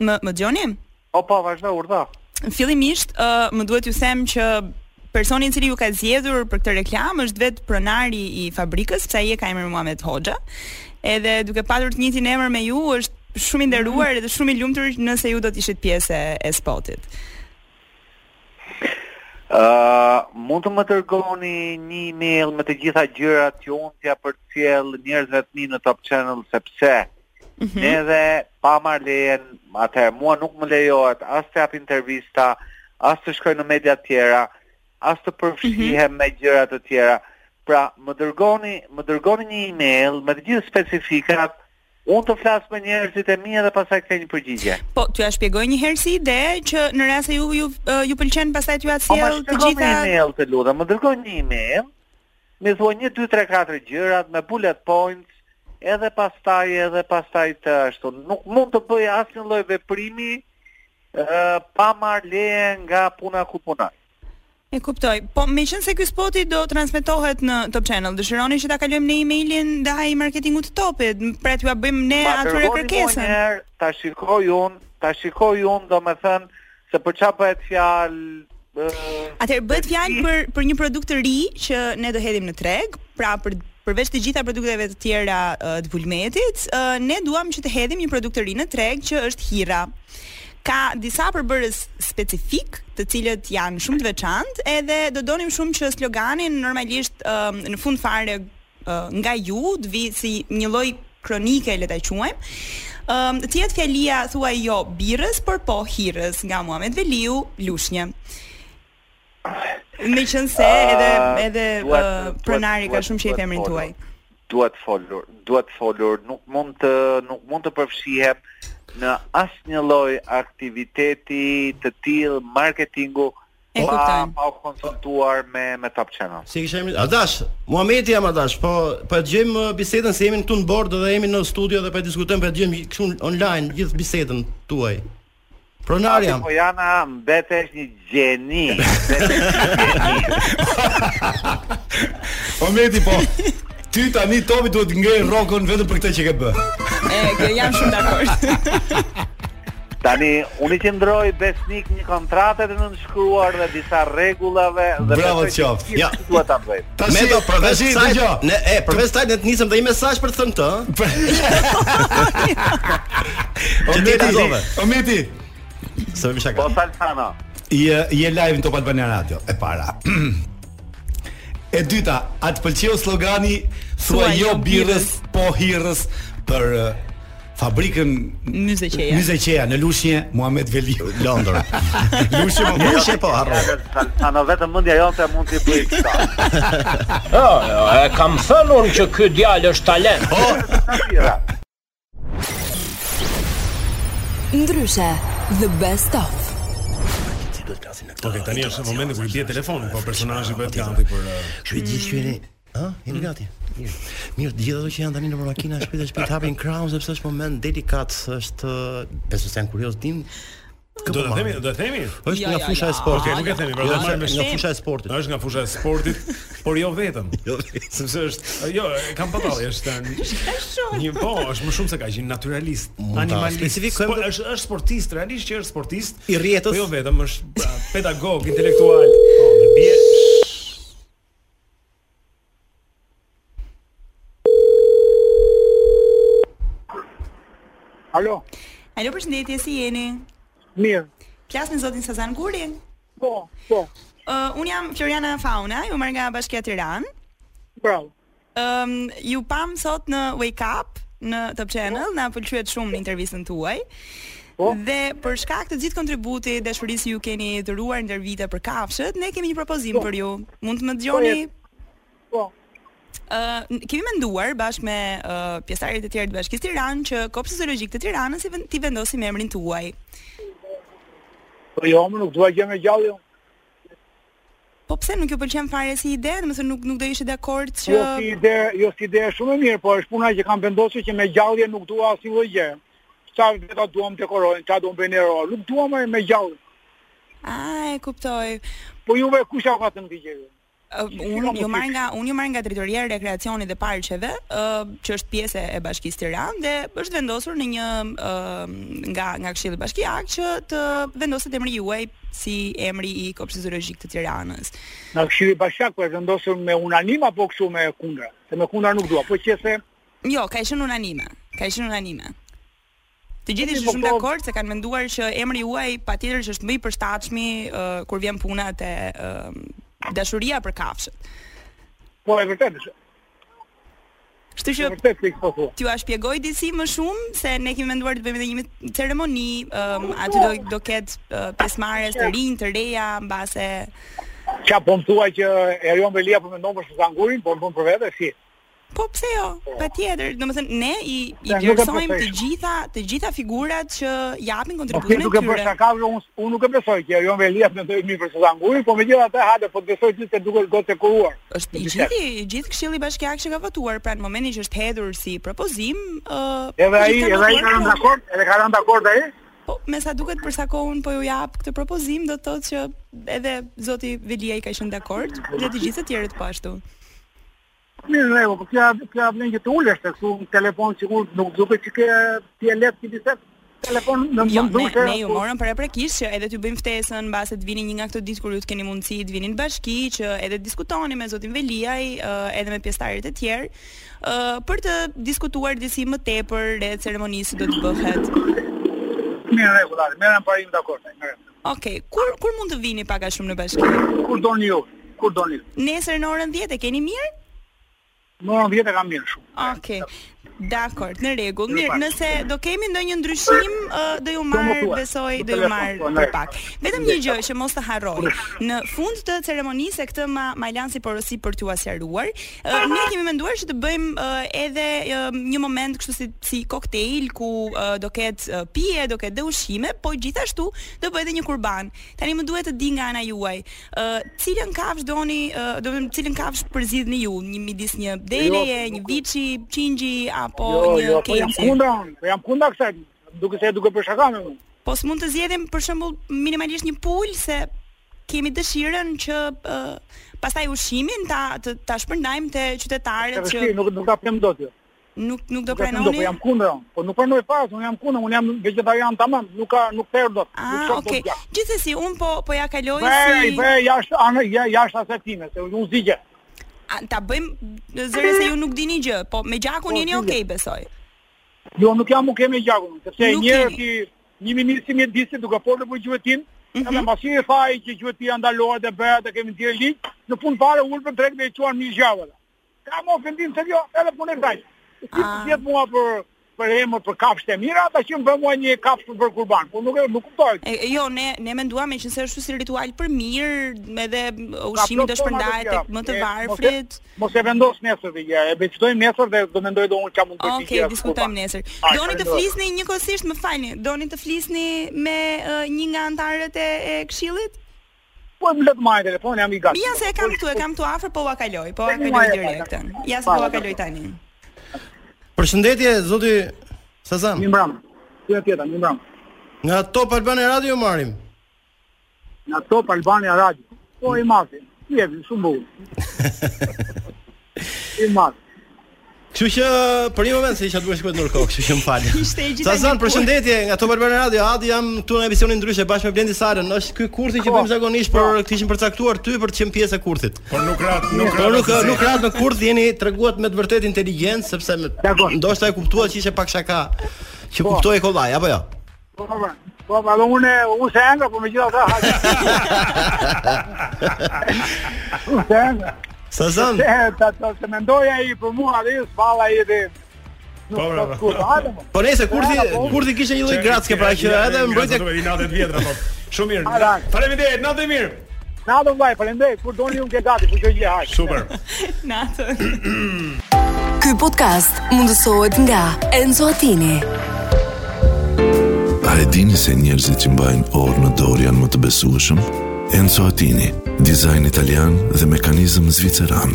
më më dëgjoni? Po po, vazhdo urdha. Fillimisht ë më duhet ju them që personi i cili ju ka zgjedhur për këtë reklam është vetë pronari i fabrikës, sepse ai e ka emrin Muhamet Hoxha. Edhe duke patur të njëjtin emër me ju është shumë i Mm. nderuar edhe shumë i lumtur nëse ju do të ishit pjesë e, e spotit. Uh, mund të më dërgoni një email me të gjitha gjërat që unë t'ja përcjell njerëzve të mi në Top Channel sepse ne dhe pa marr lejen, atëherë mua nuk më lejohet as të jap intervista, as të shkoj në media të tjera, as të përfshihem me gjëra të tjera. Pra, më dërgoni, më dërgoni një email me të gjithë specifikat, unë të flas me njerëzit e mi dhe pastaj kthej një përgjigje. Po, t'ju ja shpjegoj një herë si ide që në rast se ju ju, ju pëlqen pastaj t'ju ja Po ma sjell të shkërgo me gjitha. email të lutem, më dërgoj një email me thua 1 2 3 4 gjërat me bullet points, edhe pastaj edhe pastaj të ashtu. Nuk mund të bëj asnjë lloj veprimi ë pa marr leje nga puna ku punoj. E kuptoj. Po me qenë se ky spoti do transmetohet në Top Channel, dëshironi që ta kalojmë në emailin ndaj marketingut të Topit, pret ju a bëjmë ne Ma atyre dërgoni mua kërkesën. njerë, Ta shikoj unë, ta shikoj unë, do me thënë, se për çfarë bëhet fjalë, ë, Atëherë bëhet fjalë për për një produkt të ri që ne do hedhim në treg, pra për përveç të gjitha produkteve të tjera ë, të Vulmetit, ë, ne duam që të hedhim një produkt të ri në treg që është hirra. Ka disa përbërës specifik, të cilët janë shumë të veçantë, edhe do donim shumë që sloganin normalisht ë, në fund fare ë, nga ju të vi si një lloj kronike le ta quajmë. Ëm të jetë fjalia thuaj jo birrës, por po hirrës nga Muhamet Veliu, Lushnjë. Me qënë se edhe, Ah, edhe duhet- ë, duhet- pronari ka duhet- shumë që i duhet femrin folur. tuaj. duhet folur, duhet folur, nuk mund të nuk mund të përfshihem në asnjë lloj aktiviteti të tillë marketingu E pa kuptoj. pa u konsultuar me me Top Channel. Si kisha emrin? Adash, Muhameti jam Adash, po po e dëgjojmë eh, bisedën se jemi këtu në bord dhe jemi në studio dhe po e diskutojmë, po e dëgjojmë kështu online gjithë bisedën tuaj. Pronar jam. Po jana mbetesh një gjeni. Ometi po. Ty tani topi duhet ngrej rrokon vetëm për këtë që ke bë. E, kjo jam shumë dakord. Tani unë i qëndroj besnik një kontrate të nënshkruar dhe disa rregullave dhe Bravo të besoj që qoftë. gjithë Ja. duhet ta bëj. Me do përveç tashi, kësaj, dëgjo. ne e përveç kësaj ne të nisëm dhe një mesazh për të thënë këtë. ë. Që ti e dëgjove. Ometi, Sa më shaka. Po Salsano. je je live në Top Albania Radio e para. E dyta, a të pëlqeu slogani thua Thuaj jo jo birrës, po hirrës për eh, fabrikën Myzeqeja. Myzeqeja në Lushnje Muhamet Veliu Londër. Lushnje po Lushnje po harro. Salsano vetëm mendja jote mund t'i bëj këtë. e kam thënë unë që ky djalë është talent. Po, Po, Ndryshe, the best of. Okej, Po, tani është momenti kur i bie telefoni, po personazhi bëhet kanti për uh, Kështu i gjithë qyri. Ë, jeni gati. Mirë. Mirë, të gjithë ato që janë tani në makina shpejt e shpejt hapin krahun sepse është moment delikat, është ë, besoj se janë kurioz tim. Do të themi, do të themi. po. Është nga fusha e sportit. Okej, nuk e themi, pra do Jo, të marrim nga fusha e sportit. Është nga fusha e sportit, por jo vetëm. sepse është, jo, e kam patalli, është një po, është më shumë se kaq, një naturalist, ta animalist. specifikojmë Spo- është është sportist, realisht që është sportist. I rrjetës. Po jo vetëm, është pra, pedagog, intelektual. Po, dhe bie. Alo. Alo, përshëndetje, si jeni? Mirë. Plas me zotin Sazan Guri? Po, po. Uh, unë jam Floriana Fauna, ju marr nga Bashkia Tiranë. Bravo. Ëm, ju pam sot në Wake Up në Top Po. Channel, na pëlqyet shumë në intervistën tuaj. Dhe për shkak të gjithë kontributit, dashurisë që ju keni dhëruar ndër vite për kafshët, ne kemi një propozim për ju. Mund të më dëgjoni? Po. Uh, kemi menduar bashkë me uh, pjesëtarët e tjerë të Bashkisë Tiranë që Kopshti Zoologjik të Tiranës i ven- t'i vendosim emrin tuaj. Po jo, më nuk dua gjë me gjallë. jo. unë. Po pse nuk ju pëlqen fare si ide, domethënë nuk nuk do ishte dakord që Jo si ide, jo si ide është shumë e mirë, po është puna që kam vendosur që me gjallje nuk dua asnjë lloj gjë. Sa veta duam dekorojnë, çfarë duam bëjnë ero, nuk dua më me gjallë. A, e kuptoj. Po juve kush ka thënë këtë gjë? Uh, unë ju marr nga unë ju marr nga drejtoria e rekreacionit dhe parqeve, uh, që është pjesë e Bashkisë Tiranë dhe është vendosur në një uh, nga nga Këshilli Bashkiak që të vendoset emri juaj si emri i Kopshtit Zoologjik të Tiranës. Në Këshilli Bashkiak po e vendosur me unanim apo kështu me kundra? Se me kundra nuk dua, po qëse Jo, ka qenë unanime. Ka qenë unanime. Të gjithë Mirë, ishin po shumë po- dakord se kanë menduar që emri juaj patjetër që është më i përshtatshëm uh, kur vjen puna te uh, dashuria për kafshët. po e vërtetë është. Kështu që vërtet se po thua. T'ju a shpjegoj disi më shumë se ne kemi menduar të bëjmë edhe një ceremoni, um, aty do do ketë uh, pjesëmarrës të rinj, të reja, mbase Qa po më thua që Erion Belia po mendon për Suzan Gurin, po më bën për vete si. Po pse jo? Patjetër, domethënë ne i i Ja, nuk e vlerësojmë të besoj. gjitha të gjitha figurat që japin Po ti kontributin e duke bërë tyre. shaka, unë unë nuk e besoj që Jon Velia mendoi mirë për Suzan Gurin, po megjithatë hajde po të besoj gjithë se duket gotë e kuruar. Është I gjithi, i gjithë këshilli bashkiak që ka votuar, pra në momentin që është hedhur si propozim, ë Edhe ai, gjithë edhe ai votuar ka rënë kundër. dakord, edhe ka rënë dakord ai. Po, me sa duket për sa kohën po ju jap këtë propozim, do të thotë që edhe zoti Velia i ka qenë dakord dhe të gjithë të tjerët po ashtu. Mirë, ne, po kja kja vlen që të ulesh tek këtu në telefon sigur nuk duket që ke ti e lehtë ti bisedë. Telefon në Jo, në ne, dushe. ne ju morëm për e prekisht që edhe t'ju bëjmë ftesën mbase të vini një nga këto ditë kur ju të keni mundësi të vini në bashki që edhe të diskutoni me zotin Veliaj, ë, edhe me pjesëtarët e tjerë ë, për të diskutuar disi më tepër rreth ceremonisë që do të bëhet. Mirë, rregull, merrem parim dakord. ne, merrem. Okej, kur kur mund të vini pak a shumë në bashki? Kur doni ju? Kur doni? Nesër në orën 10 e keni mirë? Në orën 10 e kam mirë shumë. Okej. Dakor, në rregull. Mirë, nëse do kemi ndonjë ndryshim, ë, do ju Do më marr, thuaj. besoj, Në do ju telefon, marr po, për ndaj. pak. Vetëm një gjë që mos të harroj. Në fund të ceremonisë e këtë ma ma lan si porosi për t'u asjaruar, ë, ne kemi menduar që të bëjmë ë, edhe ë, një moment kështu si si koktejl ku ë, do ketë ë, pije, do ketë dhe ushqime, po gjithashtu do bëhet edhe një kurban. Tani më duhet të di nga ana juaj, ë, cilën kafsh doni, ë, do të them cilën kafsh përzidhni ju, një midis një Jo, deleje, një viçi, qingji apo një po jam keci? kundra unë, po jam kundra kësaj. Duke se duke për shaka me mua. Po s'mund të zgjedhim për shembull minimalisht një pul se kemi dëshirën që uh, pastaj ushqimin ta të, ta shpërndajmë te Ka qytetarët që vështirë, nuk nuk ta them dot jo. nuk nuk do Nuk e them dot, pranoni. Po jam kundra unë. Po nuk pranoj pas, unë jam kundra, unë jam vegetarian tamam, nuk ka nuk perr dot. Nuk po Ah, shoh okay. dot gjak. Gjithsesi un po po ja kaloj Bëj, si bëj jashtë anë ja- jashtë asaj time, se unë zgjidhe. A, ta bëjmë zëre se ju nuk dini gjë, po me gjakun Po, jeni zgjidhe. okay besoj. Jo, nuk jam u kemi gjakun, sepse Nuk një herë jeni. ti një ministri me disë duke folur për gjuetin, Mhm. edhe mbasi e thaj që gjuetia ndalohet e bëhet e kemi ndjerë ligj, në fund fare ul për drejtë me i quan mi gjavëlla. Ka më ofendim se jo, edhe punë e kësaj. Si Ah. të jetë mua për për emër për kafshë e mira, ata që më bën mua një kafshë për kurban, po nuk e nuk kuptoj. E, e, jo, ne ne menduam që se është si ritual për mirë, edhe ushqimi do shpërndahet tek më të varfrit. Mos e vendos nesër të gjë, e bëjtojmë nesër dhe do mendoj do unë çfarë mund të bëj. Okej, diskutojmë nesër. Doni të flisni njëkohësisht, më falni, doni të flisni me ë, një nga antarët e, e këshillit? Po më le të marr telefonin, jam i gatshëm. Ja se e kam këtu, e kam këtu afër, po ua kaloj, po ua Po, kaloj ja, direktën. ja, Ja se pa, po ua ja, kaloj tani. Përshëndetje zoti Sazan. Mimram. Ti tjetër, mimram. Nga Top Albania Radio marrim. Nga Top Albania Radio. Po i mati. Jepi, shumë bukur. I mati. Kështu që për një moment se isha duhet shkuar në Norko, kështu që më fal. Ishte e gjitha Sazan, një përshëndetje nga Top Albania Radio. Adi jam këtu në emisionin ndryshe bashkë me Blendi Sarën. Është ky kurthi që Po, bëjmë zakonisht për të ishim përcaktuar ty për të qenë pjesë e kurthit. Por nuk rat, Nuk po nuk nuk rat në kurth jeni treguat me të vërtetë inteligjent sepse me- ndoshta e kuptuat që ishte pak shaka. Që kuptoi kollaj apo jo? Po, po, po. Po, po, unë, unë se engra, po me gjitha ta, hajde. Unë se engra. Sazan. Se, ta, ta, se mendoja i për mua, dhe i s'pala i dhe... Po, Nuk po, po, po. skuta, hajde, mo. Po nëse kurthi Ja, po. kurthi kishte një lloj gracke pra që edhe mbrojtja Duhet i natë të vjetra po. Shumë mirë. Ara. Faleminderit, natë e mirë. Na do vllai, faleminderit. Kur doni unë ke gati, po që gjë haj. Super. Natën. Ky podcast mundësohet nga Enzo Attini. A e dini se njerëzit që mbajnë orë në dorë janë më të besueshëm? Enzo Attini, dizajn italian dhe mekanizëm zviceran.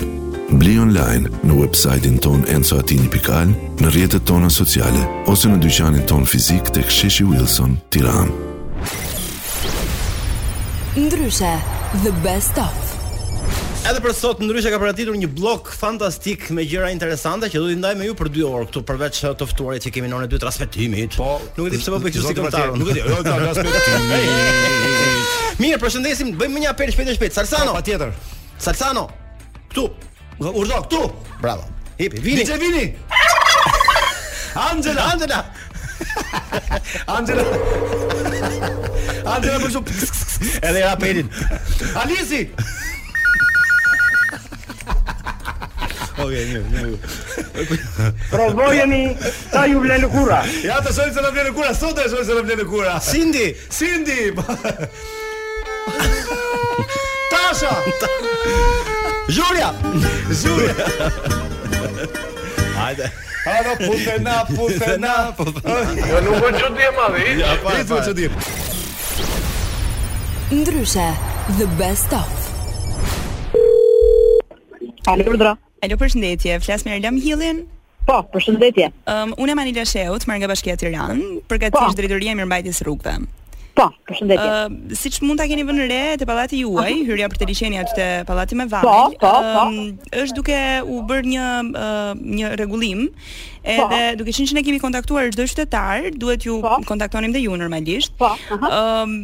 Bli online në website-in ton enzoatini.al, në rjetët tona sociale, ose në dyqanin ton fizik të ksheshi Wilson, tiranë. Ndryshe, the best of. Edhe për sot ndryshe ka përgatitur një blok fantastik me gjëra interesante që do t'i ndaj me ju për 2 orë këtu përveç eh, të ftuarit që kemi në orën e dytë transmetimit. Po, nuk e di pse po bëj kështu si Zoti komentar. Mateo, Nuk e di. jo, ta transmetimi. Mirë, përshëndesim, bëjmë një apel shpejt e shpejt. Salsano. Patjetër. Salsano. Ktu. Urdo këtu. Bravo. Jepi, vini. DJ vini. Angela, Angela. Angela. Angela për shumë Edhe ja apelin Alisi Okej, mirë, mirë Provojeni sa ju vlen lëkura. Ja të shojmë se na vlen kura sot, e shojmë se na vlen kura. Sindi, Sindi. Tasha. Zhuria. Zhuria. Hajde. Halo, pute na, pute na. Jo nuk po çudi e madhe. Ja, pa. Hiç po çudi. Ndryshe, the best of. Alordra. Alo, përshëndetje. Flas me Erlam Hillin. Po, përshëndetje. Ëm, um, unë jam Anila Sheut, marr nga Bashkia e Tiranës, përkatish Po. drejtoria e mirëmbajtjes rrugëve. Po, përshëndetje. Ë, siç mund ta keni vënë re te pallati juaj, hyrja për të liçeni aty te pallati me vaj. Po, po, po. ëm, është duke u bërë një ë, një rregullim, Po. edhe duke qenë që ne kemi kontaktuar çdo qytetar, duhet ju Po. kontaktonim dhe ju normalisht. Po. Ëm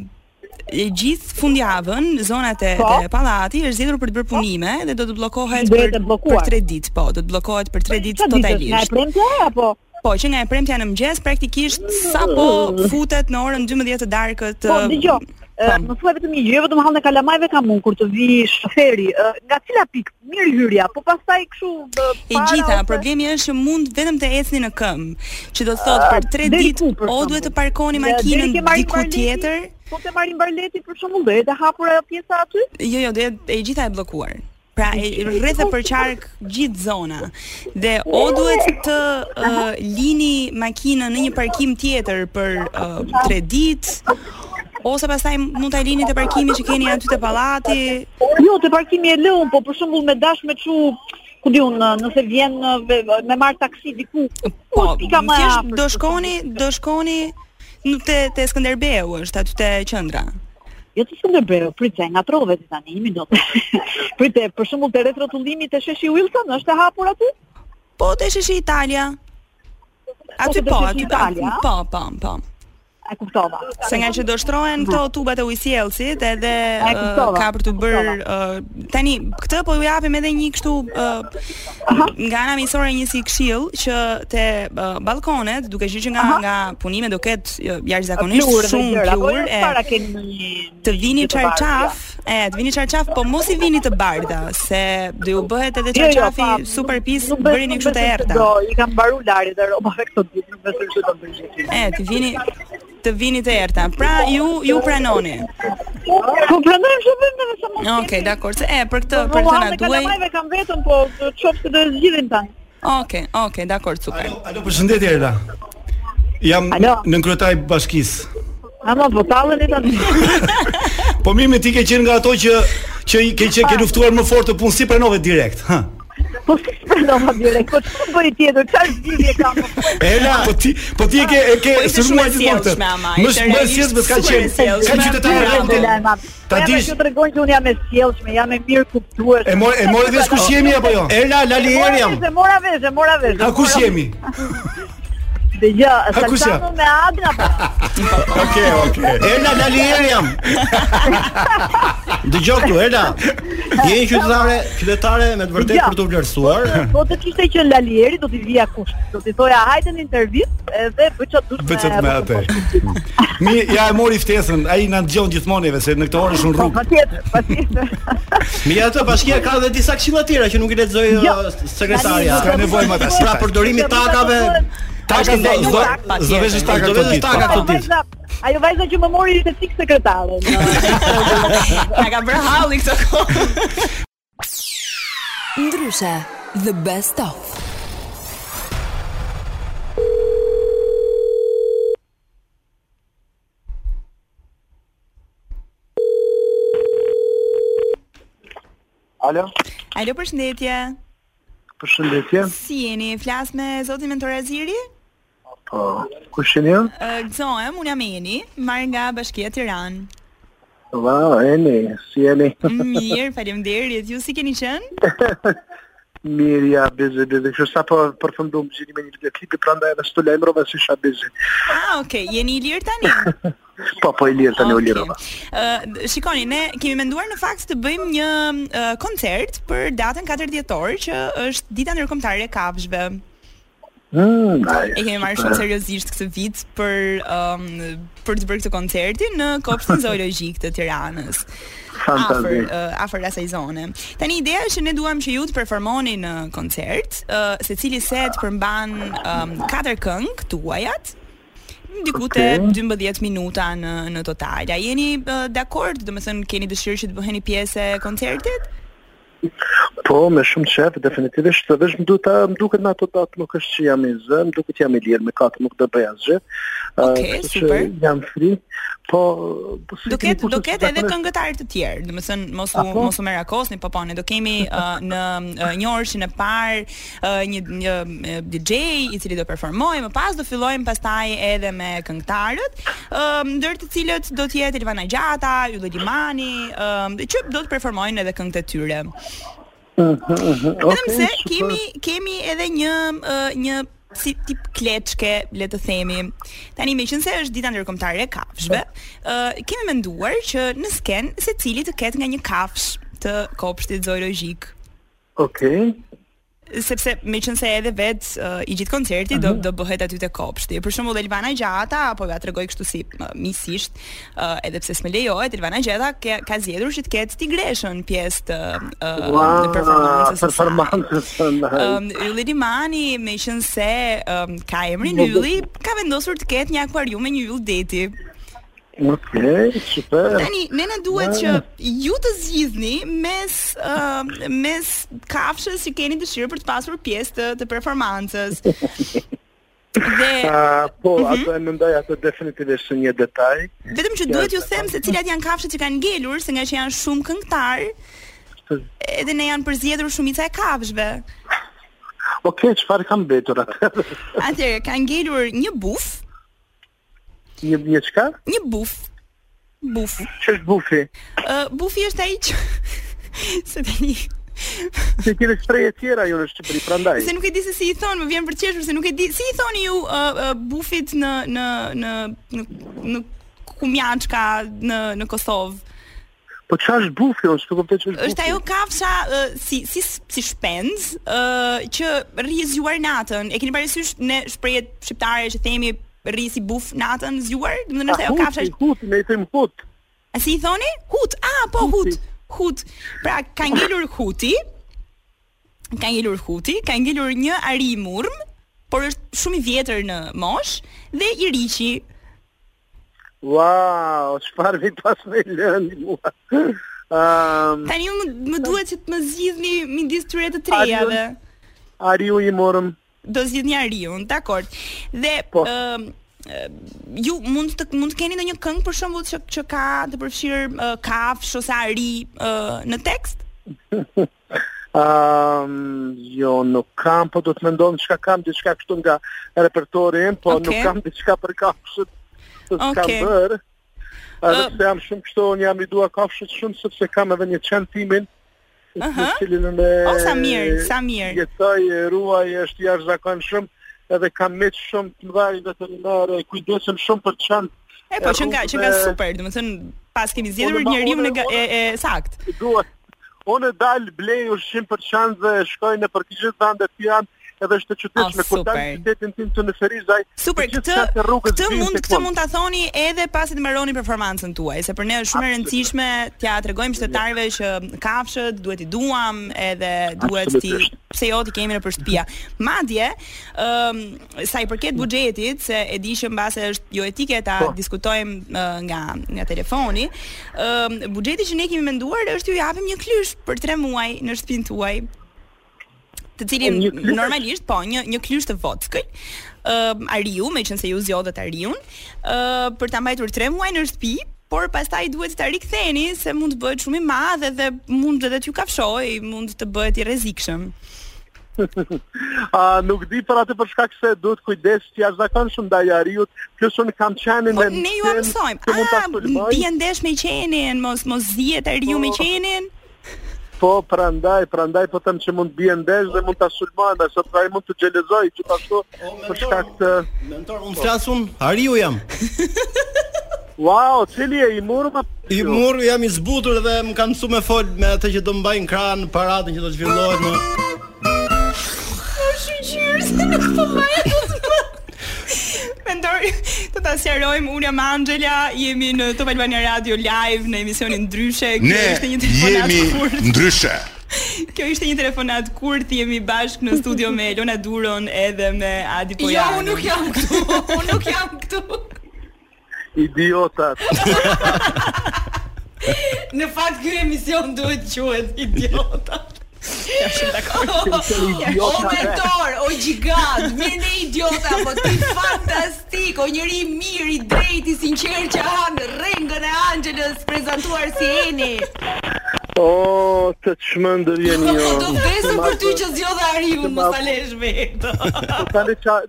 e gjithë fundjavën zonat e, Po. e pallati është zgjedhur për të bërë punime dhe do të bllokohet Duhet për, të për bllokuar. 3 ditë, po, do të bllokohet për 3 ditë Çfarë ditësh, totalisht. nga e premtja apo Po, që nga e premtja në mëngjes praktikisht sapo futet në orën 12 të darkët. Po, ë, dëgjoj. ë, Më thuaj vetëm një gjë, jo vetëm hallën e kalamajve kam unë kur të vi shoferi. ë, Nga cila pikë? Mirë hyrja, po pastaj kështu ë, E para gjitha, ose- problemi është që mund vetëm të ecni në këmbë, që do të thotë për 3 Deri ditë ku, për o shembull? duhet të parkoni Ja, makinën deri ke marrin diku barleti, tjetër. Po të marrin barleti për shembull, do jetë e hapur ajo pjesa aty? Jo, jo, do jetë e gjitha e bllokuar. Pra e- rreth e përqark gjithë zona dhe o duhet të ë, lini makinën në një parkim tjetër për uh, 3 ditë ose pastaj mund ta lini te parkimi që keni aty te pallati. Jo, te parkimi e lëun, po për shembull me dash me çu ku di unë, nëse vjen ë, ve- me marr taksi diku. Po, pika më e thjesht afërt, do shkoni, do shkoni në te te Skënderbeu është aty te qendra. Jo të Skënderbeu, pritse, nga trove ti tani, një minutë. Prite, për shembull te retrotullimi te sheshi Wilson, është e hapur aty? Po, te sheshi Italia. Aty Ose do po, të aty shkoj po, Italia, a? po, po, po. E kuptova. Se nga që do shtrohen këto tubat e ujësiellësit edhe Mhm. E kuptova, ë, ka për të bërë ë, tani këtë po ju japim edhe një kështu ë, nga ana miqësore një si këshill që te ë, balkonet, duke qenë që nga nga punime do ketë ë, jashtëzakonisht Plur dhe shumë gjëra, po plur ju e para keni një- të vini një të bardhë, çarçaf, e të vini çarçaf, po mos i vini të bardha, se do ju bëhet edhe Jo, jo, pa, çarçafi super pis, nuk besoj- bërini nuk kështu të besoj se errta. Do, i kam mbaru Lari dhe robave këto ditë, nuk besoj se do bëj gjë. E, të vini të vini të errta. Pra ju ju pranoni. Po pranoj shumë vetëm se mos. Po, Okej, dakor. Se e për këtë për këtë na duaj. Kalamajve kam vetëm, po çop se do e zgjidhin tani. Okej, okej, dakor, super. Po përshëndetje Erla. Jam në kryetaj bashkisë. Ama po tallën e tani. Po mirë, me ti ke qenë nga ato që që i ke që ke luftuar më fort të punë si pranove direkt, ha. Po si pranova direkt? Po çfarë bëri tjetër? Çfarë zgjidhje kam? Erla, po ti po ti e ke e ke Po ishte shumë sulmuar e gjithmonë këtë. sjellshme, ama, Më ishte shumë e realisht sjellshme ka super e qenë. sjellshme. Ka qytetarë Bravo, rregull. Lajma. Ta Bravo, dish- Ju tregojnë që unë jam e sjellshme, jam e mirë kuptuar. E more- e more vesh kush jemi apo jo? Erla, Lali Eri jam. E mora vesh, e mora vesh. A kush jemi? Dëgjoj, A kush jam? Saltano me Adra po. Okej, okej. Ela Dalier jam. Dëgjoj këtu, Ela. Je një qytetare, qytetare me të vërtetë Dëgjoj. për të vlerësuar. Po të kishte qenë Lalieri, do t'i vija kush. Do t'i thoja hajde në intervistë edhe bëj çfarë dush. Bëj çat me atë. Mi ja e mori ftesën, ai na dëgjon gjithmonë neve se në këtë orë është në Po, rrugë. Patjetër, patjetër. Mira ato bashkia ka edhe disa këshilla tjera që nuk i lexoj uh, Jo. sekretaria. S'ka nevojë më tash. Pra përdorimi i takave. Taka Ashtu do- nuk do- ka, patjetër. do veshësh taka Do këtë veshësh ditë, taka po. këtë ditë. Vajza, ajo vajza që më mori ishte fik sekretare. Na ka bërë halli këto kohë. Ndryshe, the best of. Alo, Alo, përshëndetje. përshëndetje. Si jeni? Flas me zotin Mentor Aziri? Po, kush jeni ju? Ë, Gëzohem, unë jam Eni, marr nga Bashkia e Tiranë. Wow, jeni, si jeni? Mirë, faleminderit. Ju si keni qenë? Mirë, ja, bizi, bizi. Kështu sa po përfundum gjeni me një videoklipi, prandaj edhe s'tu lajmërova se isha bizi. Ah, okay, jeni i lirë tani. Po, po i lirë tani u lirova. Ë, d- shikoni, ne kemi menduar në fakt të bëjmë një ë, koncert për datën 4 dhjetor, që është Dita Ndërkombëtare e Kafshëve. Mm, ai, E kemi marrë super. shumë seriozisht këtë vit për ëm, për të bërë këtë koncertin në kopshtin zoologjik të Tiranës. Afër Fantastik. uh, afër asaj zone. Tani ideja është që ne duam që ju të performoni në koncert, uh, secili set përmban um, katër këngë tuajat diku te Okay. 12 minuta në në total. A jeni uh, dakord, domethënë keni dëshirë që të bëheni pjesë e koncertit? Po, me shumë qef, definitivisht, dhe vesh më duhet ta më duket në ato datë nuk është që jam i zë, më duket që jam i lirë me katë, nuk do bëj asgjë. Okej, kështu që super. Jam free, po po si Do keni ketë kurse do si ketë edhe zakonisht- këngëtarë të tjerë, domethënë mos u Apo? mos u merakosni, po po ne do kemi uh, në uh, një orëshin e parë uh, një, një uh, DJ i cili do performojë, më pas do fillojmë pastaj edhe me këngëtarët, uh, ndër të cilët do të jetë Elvana Gjata, Ylli Limani, uh, që do të performojnë edhe këngët e tyre. Mhm, mhm, Vetëm okej, se super. kemi kemi edhe një ë, një si tip kleçke, le të themi. Tani meqense është dita ndërkombëtare e kafshëve, ë kemi menduar që në sken secili të ketë nga një kafshë të kopshtit zoologjik Okej. sepse meqense edhe vet uh, i gjithë koncerti do do bëhet aty te kopshti. Për shembull Elvana Gjata, apo ja tregoj kështu si uh, misisht, uh, edhe pse s'më lejohet, Elvana Gjata ka, ka zgjedhur që të ketë tigreshën pjesë të uh, Ua, në performancës së saj. Um, performancës së saj. Ëm Ehm, Ylli Limani, me qenë se ëm, ka emrin Nuk do- Ylli, ka vendosur të ketë një akvarium me një yll deti. Okej, super. Po Tani ne na duhet që ju të zgjidhni mes ëm, mes kafshës që keni dëshirë për të pasur pjesë të, të performancës. Dhe Ah, po, Mhm. ato e mendoj ato definitivisht si një detaj. vetëm që duhet ju them se cilat janë kafshët që kanë ngelur, se nga që janë shumë këngëtar, edhe ne janë përzgjedhur shumica e kafshëve. Okej, çfarë kam mbetur atë? Atëherë ka ngelur një buf, një një çka? Një buf. Buf. Ç'është bufi? Ë, bufi është ai që se tani Ti ke shprehje tjera ju në Shqipëri, prandaj. se nuk e di se si i thon, më vjen për të qeshur se nuk e di. Si i thoni ju ë, ë, bufit në në në në, në kumjançka në në Kosovë? Po çfarë është bufi? Unë s'e kuptoj ç'është bufi. Është ajo kafsha ë, si si si shpenz ë që rri e zgjuar natën. E keni parasysh ne shprehjet shqiptare që themi rri si buf natën zgjuar? Do të thonë është A, ajo Ah, huti, kafsha Huti, ne i them hut. A si i thoni? Hut. Ah, po hut. Hut. Pra ka ngelur huti. Ka ngelur huti, ka ngelur një ari murm, por është shumë i vjetër në mosh dhe i riqi. Wow, çfarë vit pas me lënë mua. Um, Tani unë më duhet që të më zgjidhni midis tyre të trejave. Ariu i morëm. Do zgjidhni ariun, dakor. Dhe po. ju mund të mund të keni ndonjë këngë për shembull që që ka të përfshirë uh, kafsh ose ari ë, në tekst? Um, jo, nuk kam, po do të mendon çka kam diçka kështu nga repertori im, po Okej. nuk kam diçka për kafshët që s'kam Okej. bërë. Edhe se jam shumë kështu, unë jam i dua kafshët shumë sepse kam edhe një qen timin Aha. të cilin unë O, sa mirë, sa mirë. Jetoj, e ruaj, është jashtëzakonshëm edhe kam miq shumë të mëdhenj veterinare, e kujdesem shumë për qen. E po që nga që nga super, domethënë pas kemi zgjedhur Unë ma- njeriu në unë- ga- e, e sakt. Dua. Unë dal blej ushqim për çan dhe shkoj në përkishit vende të janë edhe është të qytetshme Ah, kur dal super. në qytetin tim të në Ferizaj. Super, këtë këtë mund këtë mund ta thoni edhe pasi të mbaroni performancën tuaj, se për ne është shumë e rëndësishme t'ja tregojmë qytetarëve që kafshët duhet i duam edhe duhet ti Absolutisht. pse jo ti kemi në për shtëpia. Madje, ëm sa i përket buxhetit, se e di që mbase është jo etike ta Po. diskutojmë ë, nga nga telefoni, ëm buxheti që ne kemi menduar është ju japim një klysh për 3 muaj në shtëpinë tuaj. të cilin Po, një klysh? normalisht po një një klysh të vockël. Ëm ariu, meqense ju zgjodhet ariun, ë për ta mbajtur 3 muaj në shtëpi, por pastaj duhet ta riktheni se mund të bëhet shumë i madh edhe mund edhe t'ju kafshoj, mund të bëhet i rrezikshëm. A nuk di për atë për shkak se duhet kujdes të jashtëzakonshëm ndaj ariut, plus unë kam qenin Po dhe ne ju qen mësojmë. që mund ta Ah, sulmoj. bie ndesh me qenin, mos mos zihet ariu me Po. qenin. Po, prandaj, prandaj po them që mund bie ndesh dhe mund ta sulmoj, se ai mund të xhelozoj që ashtu për shkak të mentor unë Flasun, Ariu jam. Wow, cili e i murë ma... I murë jam i zbutur dhe më kanë mësu me fol me atë që do mbajnë kranë, paratën që do zhvillohet në... Është qyrë se nuk po bëhet. Mendoj të ta sqarojmë unë jam Angela, jemi në Top Albania Radio live në emisionin Ndryshe. Kjo Ne ishte një telefonat jemi kurt. ndryshe. Kjo ishte një telefonat kurt, jemi bashkë në studio me Elona Duron edhe me Adi Jo, Pojan. unë nuk jam këtu. Unë nuk jam këtu. Idiotat. Në fakt ky emision duhet quhet idiota. Jashim dakord. O mentor, o gjigant, mirë në idiota, po ti fantastik, o njëri mirë, i drejtë, i sinqertë që han rrengën e Angelës prezantuar si Eni. O, të çmendër jeni ju. Do vdesëm për ty që zgjodha Ariun, Jo mos ta lesh vetë. Po tani ça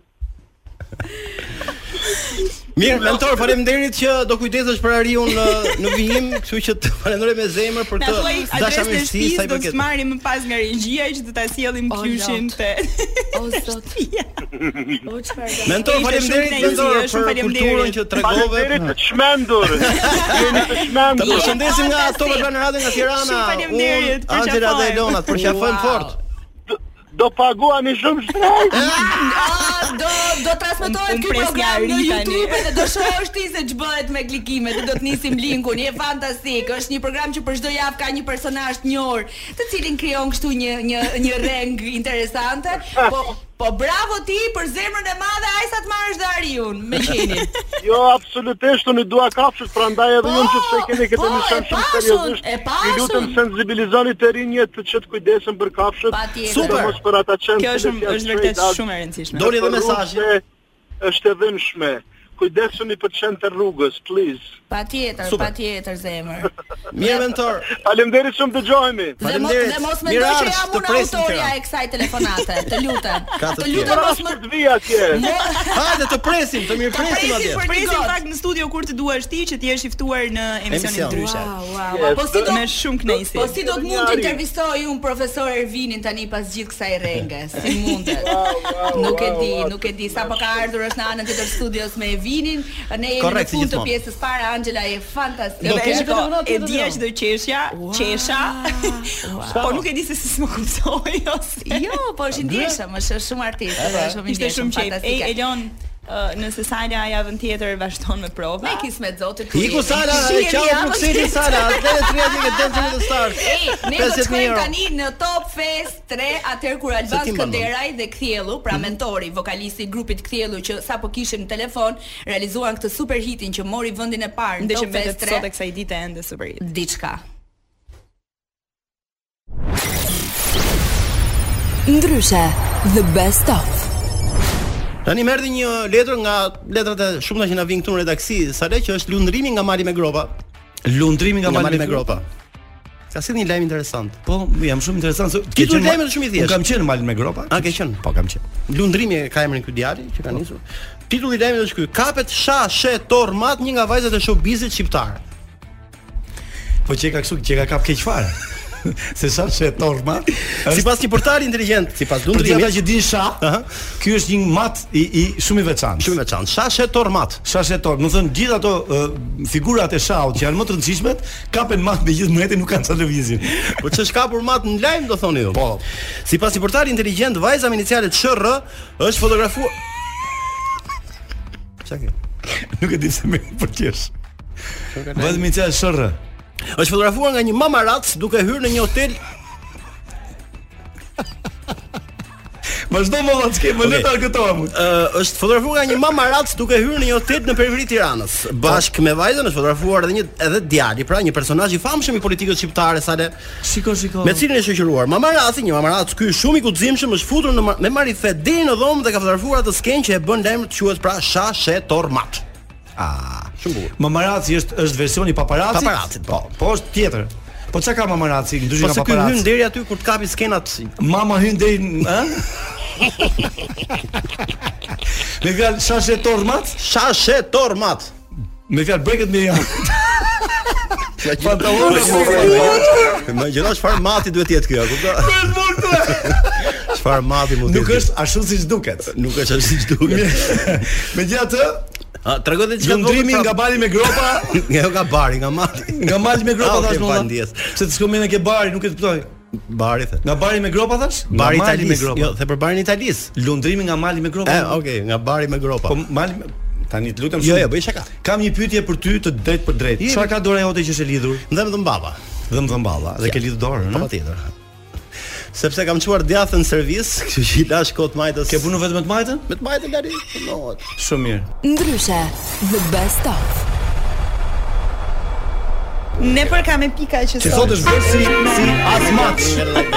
Mirë, mentor, faleminderit që do kujdesesh për Ariun në, në vijim, kështu që të falenderoj me zemër për Na këtë thuaj adresën e dashamirësi shtëpisë, sa i do të përket. marrim më pas nga regjia që do ta sjellim kyshin te. O zot. O çfarë? Mentor, faleminderit mentor për kulturën që tregove. Faleminderit të çmendur. Jeni të çmendur. Të përshëndesim nga Top Albana Radio nga Tirana. Shumë faleminderit, Unë, për Angela qafojmë. dhe Elona, të përqafojmë Wow. fort. Do paguani shumë shtrejt. Ah, do do transmetohet Unë ky pres nga program në Ari tani. YouTube dhe do shohësh ti se ç'bëhet me klikimet. dhe Do të nisim linkun, je fantastik. Është një program që për çdo javë ka një personazh të njohur, të cilin krijon kështu një një një reng interesante. Po po bravo ti për zemrën e madhe ai sa të marrësh dhe Ariun me qenin. Jo, absolutisht unë i dua kafshët, prandaj edhe unë Po, që pse keni këtë mision shumë seriozisht. e pasun. Ju lutem sensibilizoni të rinjë të që të kujdesen për kafshët, Patjetër. sidomos për ata qenë. Kjo të është- cilët është janë vërtet shtrejt, shumë e rëndësishme. as- Doli edhe për rrugë mesazhi. se Është e dhënshme. Kujdesuni për qenë të rrugës, please. Patjetër, Super. patjetër zemër. Mirë mentor. Faleminderit shumë dëgjohemi. Dhe mos dhe mos mendoj që jam unë autoria e kësaj telefonate. Të lutem. Ka të Të lutem tjerë. mos më të vi atje. Hajde të presim, të mirë presim atje. Për presim pak në studio kur të duash ti që të jesh i ftuar në emisionin Emision. ndryshe. Wow, wow, Yes, po si do- me shumë kënaqësi. Po si do të mund të intervistoj unë profesor Ervinin tani pas gjithë kësaj rrenge? Si mundet? Nuk e di, nuk e di. Sapo ka ardhur është në anën tjetër studios me Evinin. Ne jemi në Korrekt, si fund të gjithmonë. pjesës parë. Angela e fantastike. Do të shko, e di dija që do qeshja, qesha. Po nuk e di se si s'më kuptoj ose. Jo, po është i ndjeshëm, është shumë artist, Edhe, është shumë i Ishte ndjeshëm, shumë qejf. E fantastike. Elon, ë, nëse Sala javën tjetër vazhdon me prova. Me kismet zotit. ku Iku jemi. Sala, Shihemi qau javën Brukseli tjetër. Sala, atë e tria dikë dancing with the stars. Ej, ne do të 50.000 shkojmë euro. tani në Top Fest 3, atëherë kur Se Alban ti mbanon. Skënderaj dhe Kthiellu, pra mentori, vokalisti i grupit Kthiellu që sapo kishin në telefon, realizuan këtë super hitin që mori vendin e parë në Ndë që Top Fest mbetet 3. sot e kësaj dite ende super hit. Diçka. Ndryshe, the best of. Tani më erdhi një letër nga letrat e shumta që na vijnë këtu në redaksi, sa le që është lundrimi nga mali me gropa. Lundrimi nga mali me gropa. Ka si një lajm interesant. Po, jam shumë interesant. se- Ti ke qenë duhet ma- lajmet shumë i thjeshtë. Unë kam qenë në malin me gropa. A ke qenë? Po, kam qenë. Po. Lundrimi ka emrin ky djali që ka nisur. Titulli i lajmit është ky: Kapet sha she tormat një nga vajzat e showbizit shqiptar. Po që e ka kështu, që e ka kap keq fare. Se sa she torma. Sipas një portali inteligjent, sipas Për të ata lundrimit, që din sha, ky është një mat i, i shumë i veçantë. Shumë i veçantë. Sha she tormat. Sha she tor. Do të thënë gjithë ato uh, figurat e shaut që janë më të rëndësishmet, kapen mat me gjithë mretin nuk kanë sa lëvizje. Po ç'është kapur mat në lajm do thoni ju. Po. Sipas një portali inteligjent, vajza me inicialet SHR është fotografuar. Çka ke? Nuk e di pse më përqesh. Vazhdim me çfarë sherrë. Është fotografuar nga një mamarac duke hyrë në një hotel Vazhdo më vallë çke, më le ta argëtohem. Ë, është fotografuar nga një mamarac duke hyrë në një hotel në periferi të Tiranës. Bashkë me vajzën është fotografuar edhe një edhe djali, pra një personazh i famshëm i politikës shqiptare Sale. Shiko, shiko. Me cilin e shoqëruar. Mamaraci, një mamarac ky shumë i guximshëm, është futur në ma- me marife deri në dhomë dhe ka fotografuar atë sken që e bën lajm të quhet pra Shashe Tormat. Ah, shumë bukur. Mamaraci është është versioni paparacit. Paparacit, po. Po është tjetër. Po çka ka mamaraci ndryshe Po nga se ky hyn paparaci? deri aty kur të kapi skenat. Mama hyn deri, në- ë? Me fjalë shashe tormat? Shashe tormat. Me fjalë breket me janë. Pantallona Pantallona po. Imagjino çfarë mati duhet të jetë ky, a kupton? Çfarë mati mund të Nuk është ashtu siç duket. Nuk është ashtu siç duket. Megjithatë, A tregoj edhe diçka Lundrimi tjetër, nga prap. bali me gropa, nga jo nga bari, nga mali. nga mali me Ah, gropa okay, thash pa më. ndjes. Se të shkojmë me ke bari, nuk e kuptoj. Bari the. Nga bari me gropa thash? Nga Bari i mali me Italisë. gropa. Jo, the për barin Italis. Lundrimi nga mali me gropa. E, Eh, okay, nga bari me gropa. Po mali me- tani të lutem Jo, jo, bëj shaka. Kam një pyetje për ty të drejtë për drejtë. Jepi. Çfarë ka dora jote që është e lidhur? Dhe më dhëmbava. Dhe më dhëmballa, dhe Ja. ke lidhur dorën, Po patjetër. Sepse kam çuar djathën në servis, kështu që i lash kot majtës. Ke punu vetëm me të majtën? Me të majtën lari. No. Shumë mirë. Ndryshe, the best of. Ne për kam e pika që Që sot është bërë si si asmat.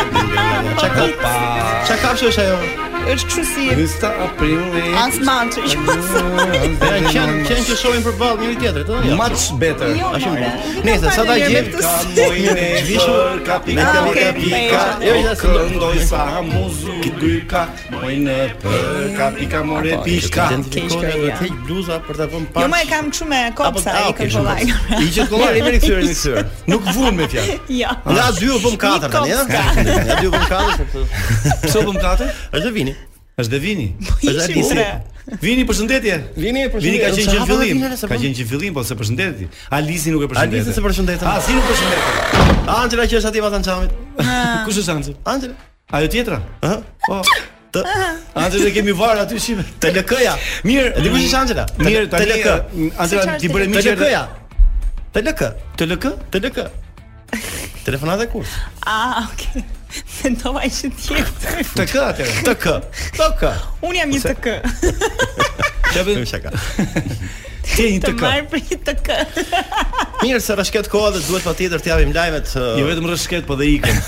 Çka ka? Çka kafshë është ajo? Është kështu si Vista aprilli. asmançi. Ja qen qen që shohin përballë njëri tjetrit, ëh. Much better. Jo, Ashtu more. mirë. Nëse sa ta gjej Ka mojnë e vishur, ka pika, Ah, ka okay. pika Jo, Jo, ja, ja se do- këndoj sa muzu Kitë ka mojnë e për, ka pika, more pika Identifikojnë do të heq bluza për ta vënë Jo, pak. më e kam kështu me kopsa i kollaj. I qet kollaj me kthyer në kthyer. Nuk vun me fjalë. Jo. Nga 2 u bëm 4 tani, ëh. Nga 2 u bëm 4 sepse Pse u bëm katër? Është vini. Është dhe vini. Është Ishi Adisi. ure. Vini, përshëndetje. Vini, Vini ka qenë që në fillim. Ka qenë qenë që në fillim, po se përshëndeti. Alisi nuk e përshëndeti. Alisi se përshëndetëm. A Ah, si nuk përshëndetet? Angela që është aty vatan çamit. Kush është Angela? Angela. Ajo tjetra? Ëh. Po. Angela kemi varë aty shime. TLK-ja. Mirë, E di kush është Angela? Mirë, tani TLK. eh, Angela ti bëre miqë. TLK-ja. TLK. TLK? TLK. Telefonata e kurs. Ah, okay. Mendova ishte tjetër. TK atë. TK. TK. Unë jam një të kë. Çfarë bën shaka? Ti Të marr për një të kë. Mirë se rashket koha dhe duhet patjetër të japim lajmet. Uh... Jo vetëm rashket, po dhe ikën.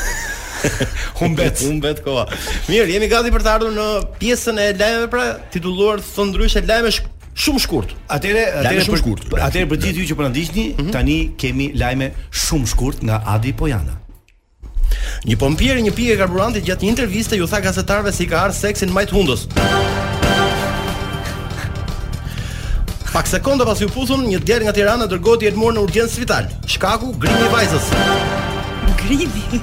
Humbet. Humbet koha. Mirë, jemi gati për të ardhur në pjesën e lajmeve pra, titulluar thonë ndryshe lajme sh shumë shkurt. Atëre, atëre shumë shkurt. Mhm. për atëre për gjithë ju që po na ndiqni, tani kemi lajme shumë shkurt nga Adi Pojana. Një pompier i një pike karburantit gjatë një interviste ju tha gazetarëve se i ka ardhur seksi në majt hundës. Pak sekonda pas ju puthun, një djalë nga Tirana dërgohet i Elmor në urgjencë spital. Shkaku grimi i vajzës. Grimi.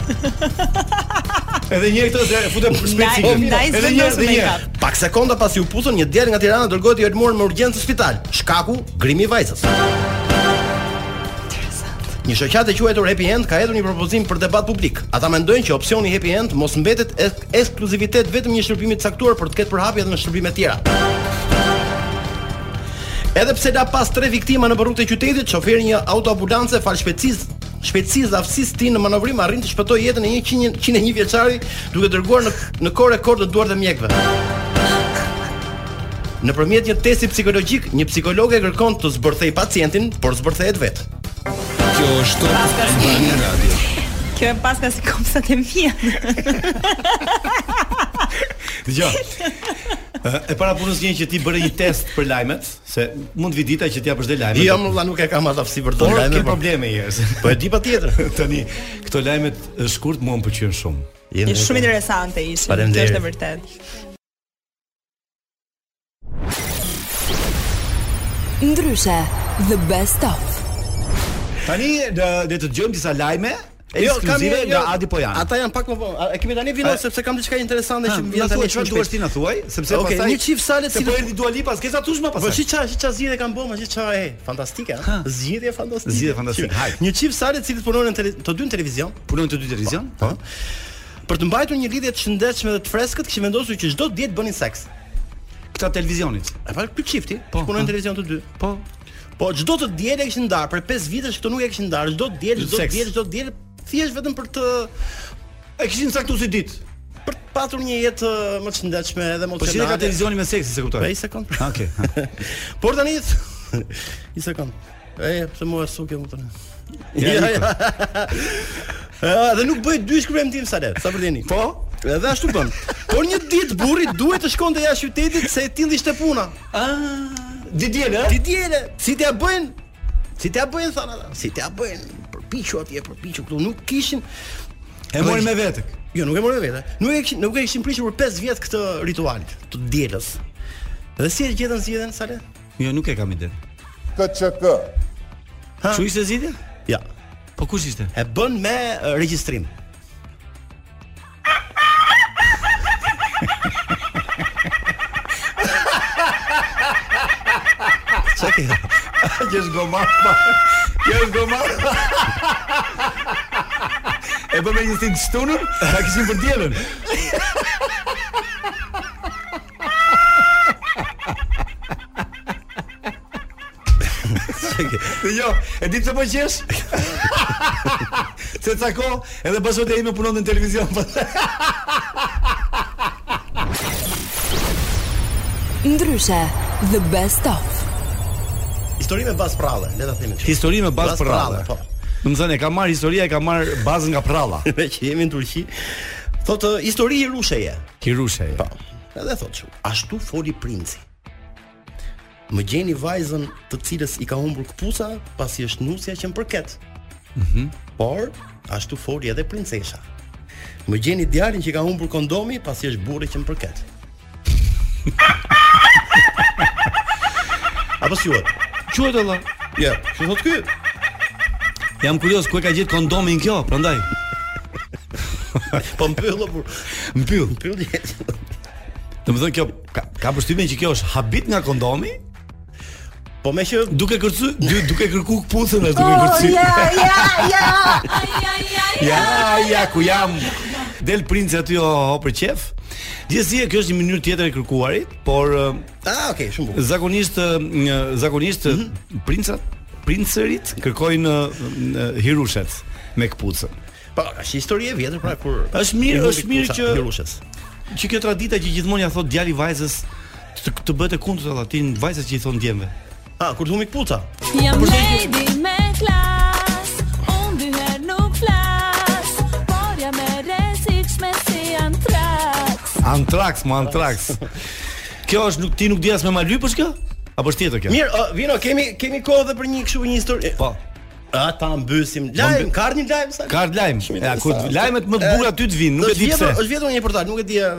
Edhe një herë këtë se futem për specifikën. Ndaj- ndaj Edhe një herë, zëvendosur edhe një make-up. herë. Pak sekonda pas ju puthun, një djalë nga Tirana dërgohet i Elmor në urgjencë spital. Shkaku grimi i vajzës. Një shoqatë e quajtur Happy End ka hedhur një propozim për debat publik. Ata mendojnë që opsioni Happy End mos mbetet ek- ekskluzivitet vetëm një shërbimi të caktuar por të ketë përhapje edhe në shërbime të tjera. Edhe pse la pas tre viktima në rrugët e qytetit, shoferi një autoambulance fal shpejtësisë shpejtësisë dhe aftësisë ti në manovrim arrin të shpëtoi jetën e një 100 101 vjeçari duke dërguar në në kohë rekord të duart e mjekëve. Nëpërmjet një testi psikologjik, një psikologe kërkon të zbërthej pacientin, por zbërthehet vetë. Kjo është Paska si radio. Kjo e paska si kopsat e mia. Jo. Dgjoj. Ë, E para punës një që ti bëre një test për lajmet, se mund vi dita që ti japësh dhe lajmet. Jo, më valla nuk e kam atë aftësi për të Por lajme, ke por- probleme njerëz. Po e di patjetër. Tani këto lajmet e shkurt mua më pëlqejnë shumë. Është shumë interesante ishin. Faleminderit. Është e vërtetë. Ndryshe, the best of. Tani do do të dëgjojmë disa lajme Jo, ekskluzive nga Adi Pojana. Ata janë pak më vonë. A- E kemi tani vino A- sepse kam diçka interesante Ah, që më na vjen thuaj tani. çfarë duash ti na thuaj, sepse okay, pastaj- një çift sale se po erdhi Dua Lipa, s'kesa tushma pastaj. Po si çfarë, si çfarë zgjidhje kanë bërë, si çfarë e fantastike, ha? Zgjidhje fantastike. Zgjidhje fantastike, Që- hajde. Një çift sale të cilët punojnë në tele- të dy në televizion, punojnë të dy televizion, po. Për të mbajtur një lidhje të shëndetshme dhe të freskët, kishin vendosur që çdo ditë bënin seks. Këta televizionit. E pa ky çifti, që punojnë në televizion të dy. Po. Po çdo të dielë e kishin ndar, për 5 vitesh këto nuk e kishin ndar, çdo dielë, çdo Seks. dielë, çdo dielë thjesht vetëm për të e kishin caktuar si ditë. Për të patur një jetë ë, më të shëndetshme edhe më Po të si dhe ka televizioni me seksin, se kuptoj. Ah, Po, një sekond. Okej. Por tani një sekond. E, pse mua sukë më tani. Ja, Ja, iku. ja. Ë, Dhe nuk bëj dy shkruajm tim sa let, sa për dini. Po. Edhe ashtu bën. Por një ditë burri duhet të shkonte jashtë qytetit se e tindi ishte puna. Ah, di diele, ë? Di diele. Si t'ia bëjnë? Si t'ia bëjnë thanë ata? Si t'ia bëjnë? Përpiqu atje, përpiqu këtu nuk kishin. E mori me vete. Jo, nuk e mori me vete. Nuk e kishin, nuk e kishin prishur për 5 vjet këtë ritualit të dielës. Dhe si e gjetën zgjedhjen sa let? Jo, nuk e kam ide. KÇK. Çu ishte zgjidhja? Ja. Po kush ishte? E bën me e, regjistrim. Çka ke? Që është goma. Që është goma. E bëmë një stint shtunën, ta kishim për dielën. Dhe jo, e di pse po qesh? Se ca kohë edhe bashkëte ime punon në televizion. Ndryshe, the best of. Histori me bazë prallë, le ta themi. kështu. Histori me bazë prallë. Po. Domethënë e ka marr historia, e ka marr bazën nga prralla. Me që jemi në Turqi. Thotë histori hirusheje. Hirusheje. Po. Edhe thotë shumë. Ashtu foli princi. Më gjeni vajzën të cilës i ka humbur këpusa pasi është nusja që më përket. Mhm. Por ashtu foli edhe princesha. Më gjeni djalin që ka humbur kondomi pasi është burri që më përket. Apo si juhet? Quhet olla. Ja, çu thot ky? Jam kurioz ku e ka gjetë kondomin kjo, prandaj. po mbyll apo? Mbyll. Mbyll jetë. Domethënë kjo ka, ka përshtypjen që kjo është habit nga kondomi? Po me që duke kërcy, dy- duke kërku kputhën as Oh, duke kërcy. ja. Ja, ja, ku jam. Del princi aty o, o për qef. Gjithsesi kjo është një mënyrë tjetër e kërkuarit, por ah, okay, shumë bukur. Mhm. Zakonisht ë, një, zakonisht mm princat, princërit kërkojnë ë, ë, hirushet me kputucën. Po, është histori e vjetër pra kur Është mirë, i humbi është mirë kpuca që hirushes. Që kjo tradita që gjithmonë ja thot djali vajzës të, të bëhet e kundërt alla, ti vajzës që i thon djemve. Ah, kur thumi kpuca. Jam lady me klas Unë dy her nuk flas Por jam e rezikshme si antrax Antrax, më antrax. Kjo është nuk ti nuk dias me malyp është kjo? Apo është tjetër kjo? Mirë, ë, Vino, kemi kemi kohë edhe për një kështu një histori. Po. Ata mbysim lajm, ka ardhur një lajm sa? Ka ardhur lajm. Ja, kur lajmet më të bukura aty të vinë, nuk e di Është pse. vjedhur- Është vjedhur në një portal, nuk e di. ë,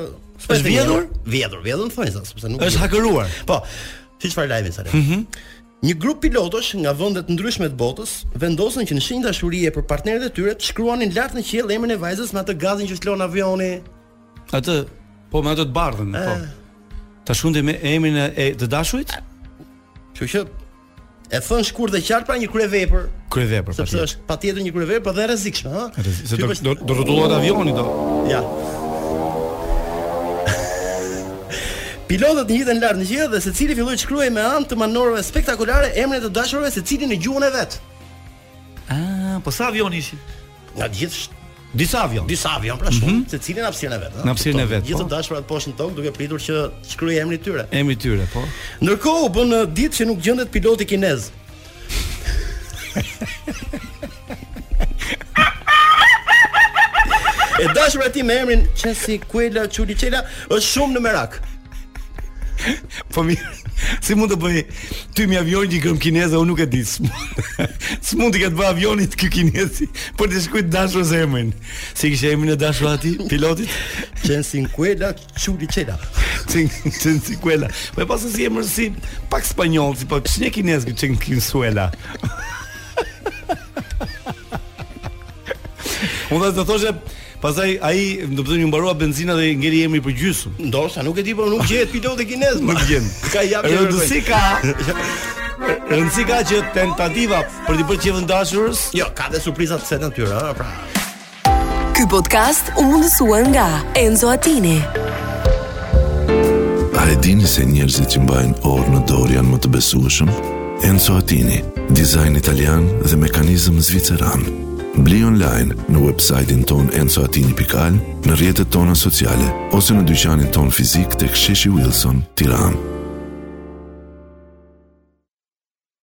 s'pres Është të vjedhur? njëherë. Vjedhur, vjedhur në thonjza, sepse nuk. Është hakeruar. Po. Si çfarë lajmi sa? Mhm. Një grup pilotësh nga vende të ndryshme të botës vendosën që në shenjë dashurie për partnerët e tyre të shkruanin lart në qiell emrin e vajzës me atë gazin që flon avioni. Atë, po me atë të bardhën, po. Ta shkunte me emrin e- e të dashurit? Kështu që e thon shkurt dhe qartë pra një kryevepër. Kryevepër, Sepse patjetër. është patjetër një kryevepër dhe e rrezikshme, ha? Rrezikshme, se Ty do- përsh- do- do rrotullohet avioni, do. Ja. Pilotët njiten lart në qiell dhe secili filloi të shkruajë me anë të manorëve spektakolare emrin e të dashurve secili në gjuhën e vet. Ah, po sa avion ishin? Nga të gjithë sh- Disa avion. Mhm. disa avion pra shumë, secili në hapësirën e vet, ha? Në hapësirën e vet, Gjithë po. të dashurat poshtë në tokë duke pritur që të shkruajë emrin e tyre. Emri i tyre, po. Ndërkohë u bën uh, ditë që nuk gjendet piloti kinez. e dashur ati me emrin Çesi Kuela Çuliçela është shumë në merak. Po mirë. Si mund të bëj ty mi avion një gërm kineze, unë nuk e di. S'mund të ketë bë avionit ky kinezi për të shkruajt dashur zemrin. Si kishte emrin e dashur aty pilotit? Çensi Kuela Çuliçela. Çensi Kuela. Po e pasën si emër si pak spanjoll, si pak çne kinez ky Çensi Kuela. Unë do të thoshe Pastaj ai, do të thonë, ju mbarua benzina dhe i ngeli emri për gjysmë. Ndoshta nuk e di, por nuk gjehet piloti kinez. Nuk gjen. Ka jap që Rëndësi kërkoj. ka. Rëndësi ka që tentativa për të bërë qevën dashurës? Jo, ka dhe surpriza të kësaj natyre, ha, pra. Ky podcast u mundësua nga Enzo Attini. A e dini se njerëzit që mbajnë orë në dorë janë më të besueshëm? Enzo Attini, dizajn italian dhe mekanizëm zviceran. Bli online në website-in ton enzoatini.al, në rjetët tona sociale, ose në dyqanin ton fizik të ksheshi Wilson, tiranë.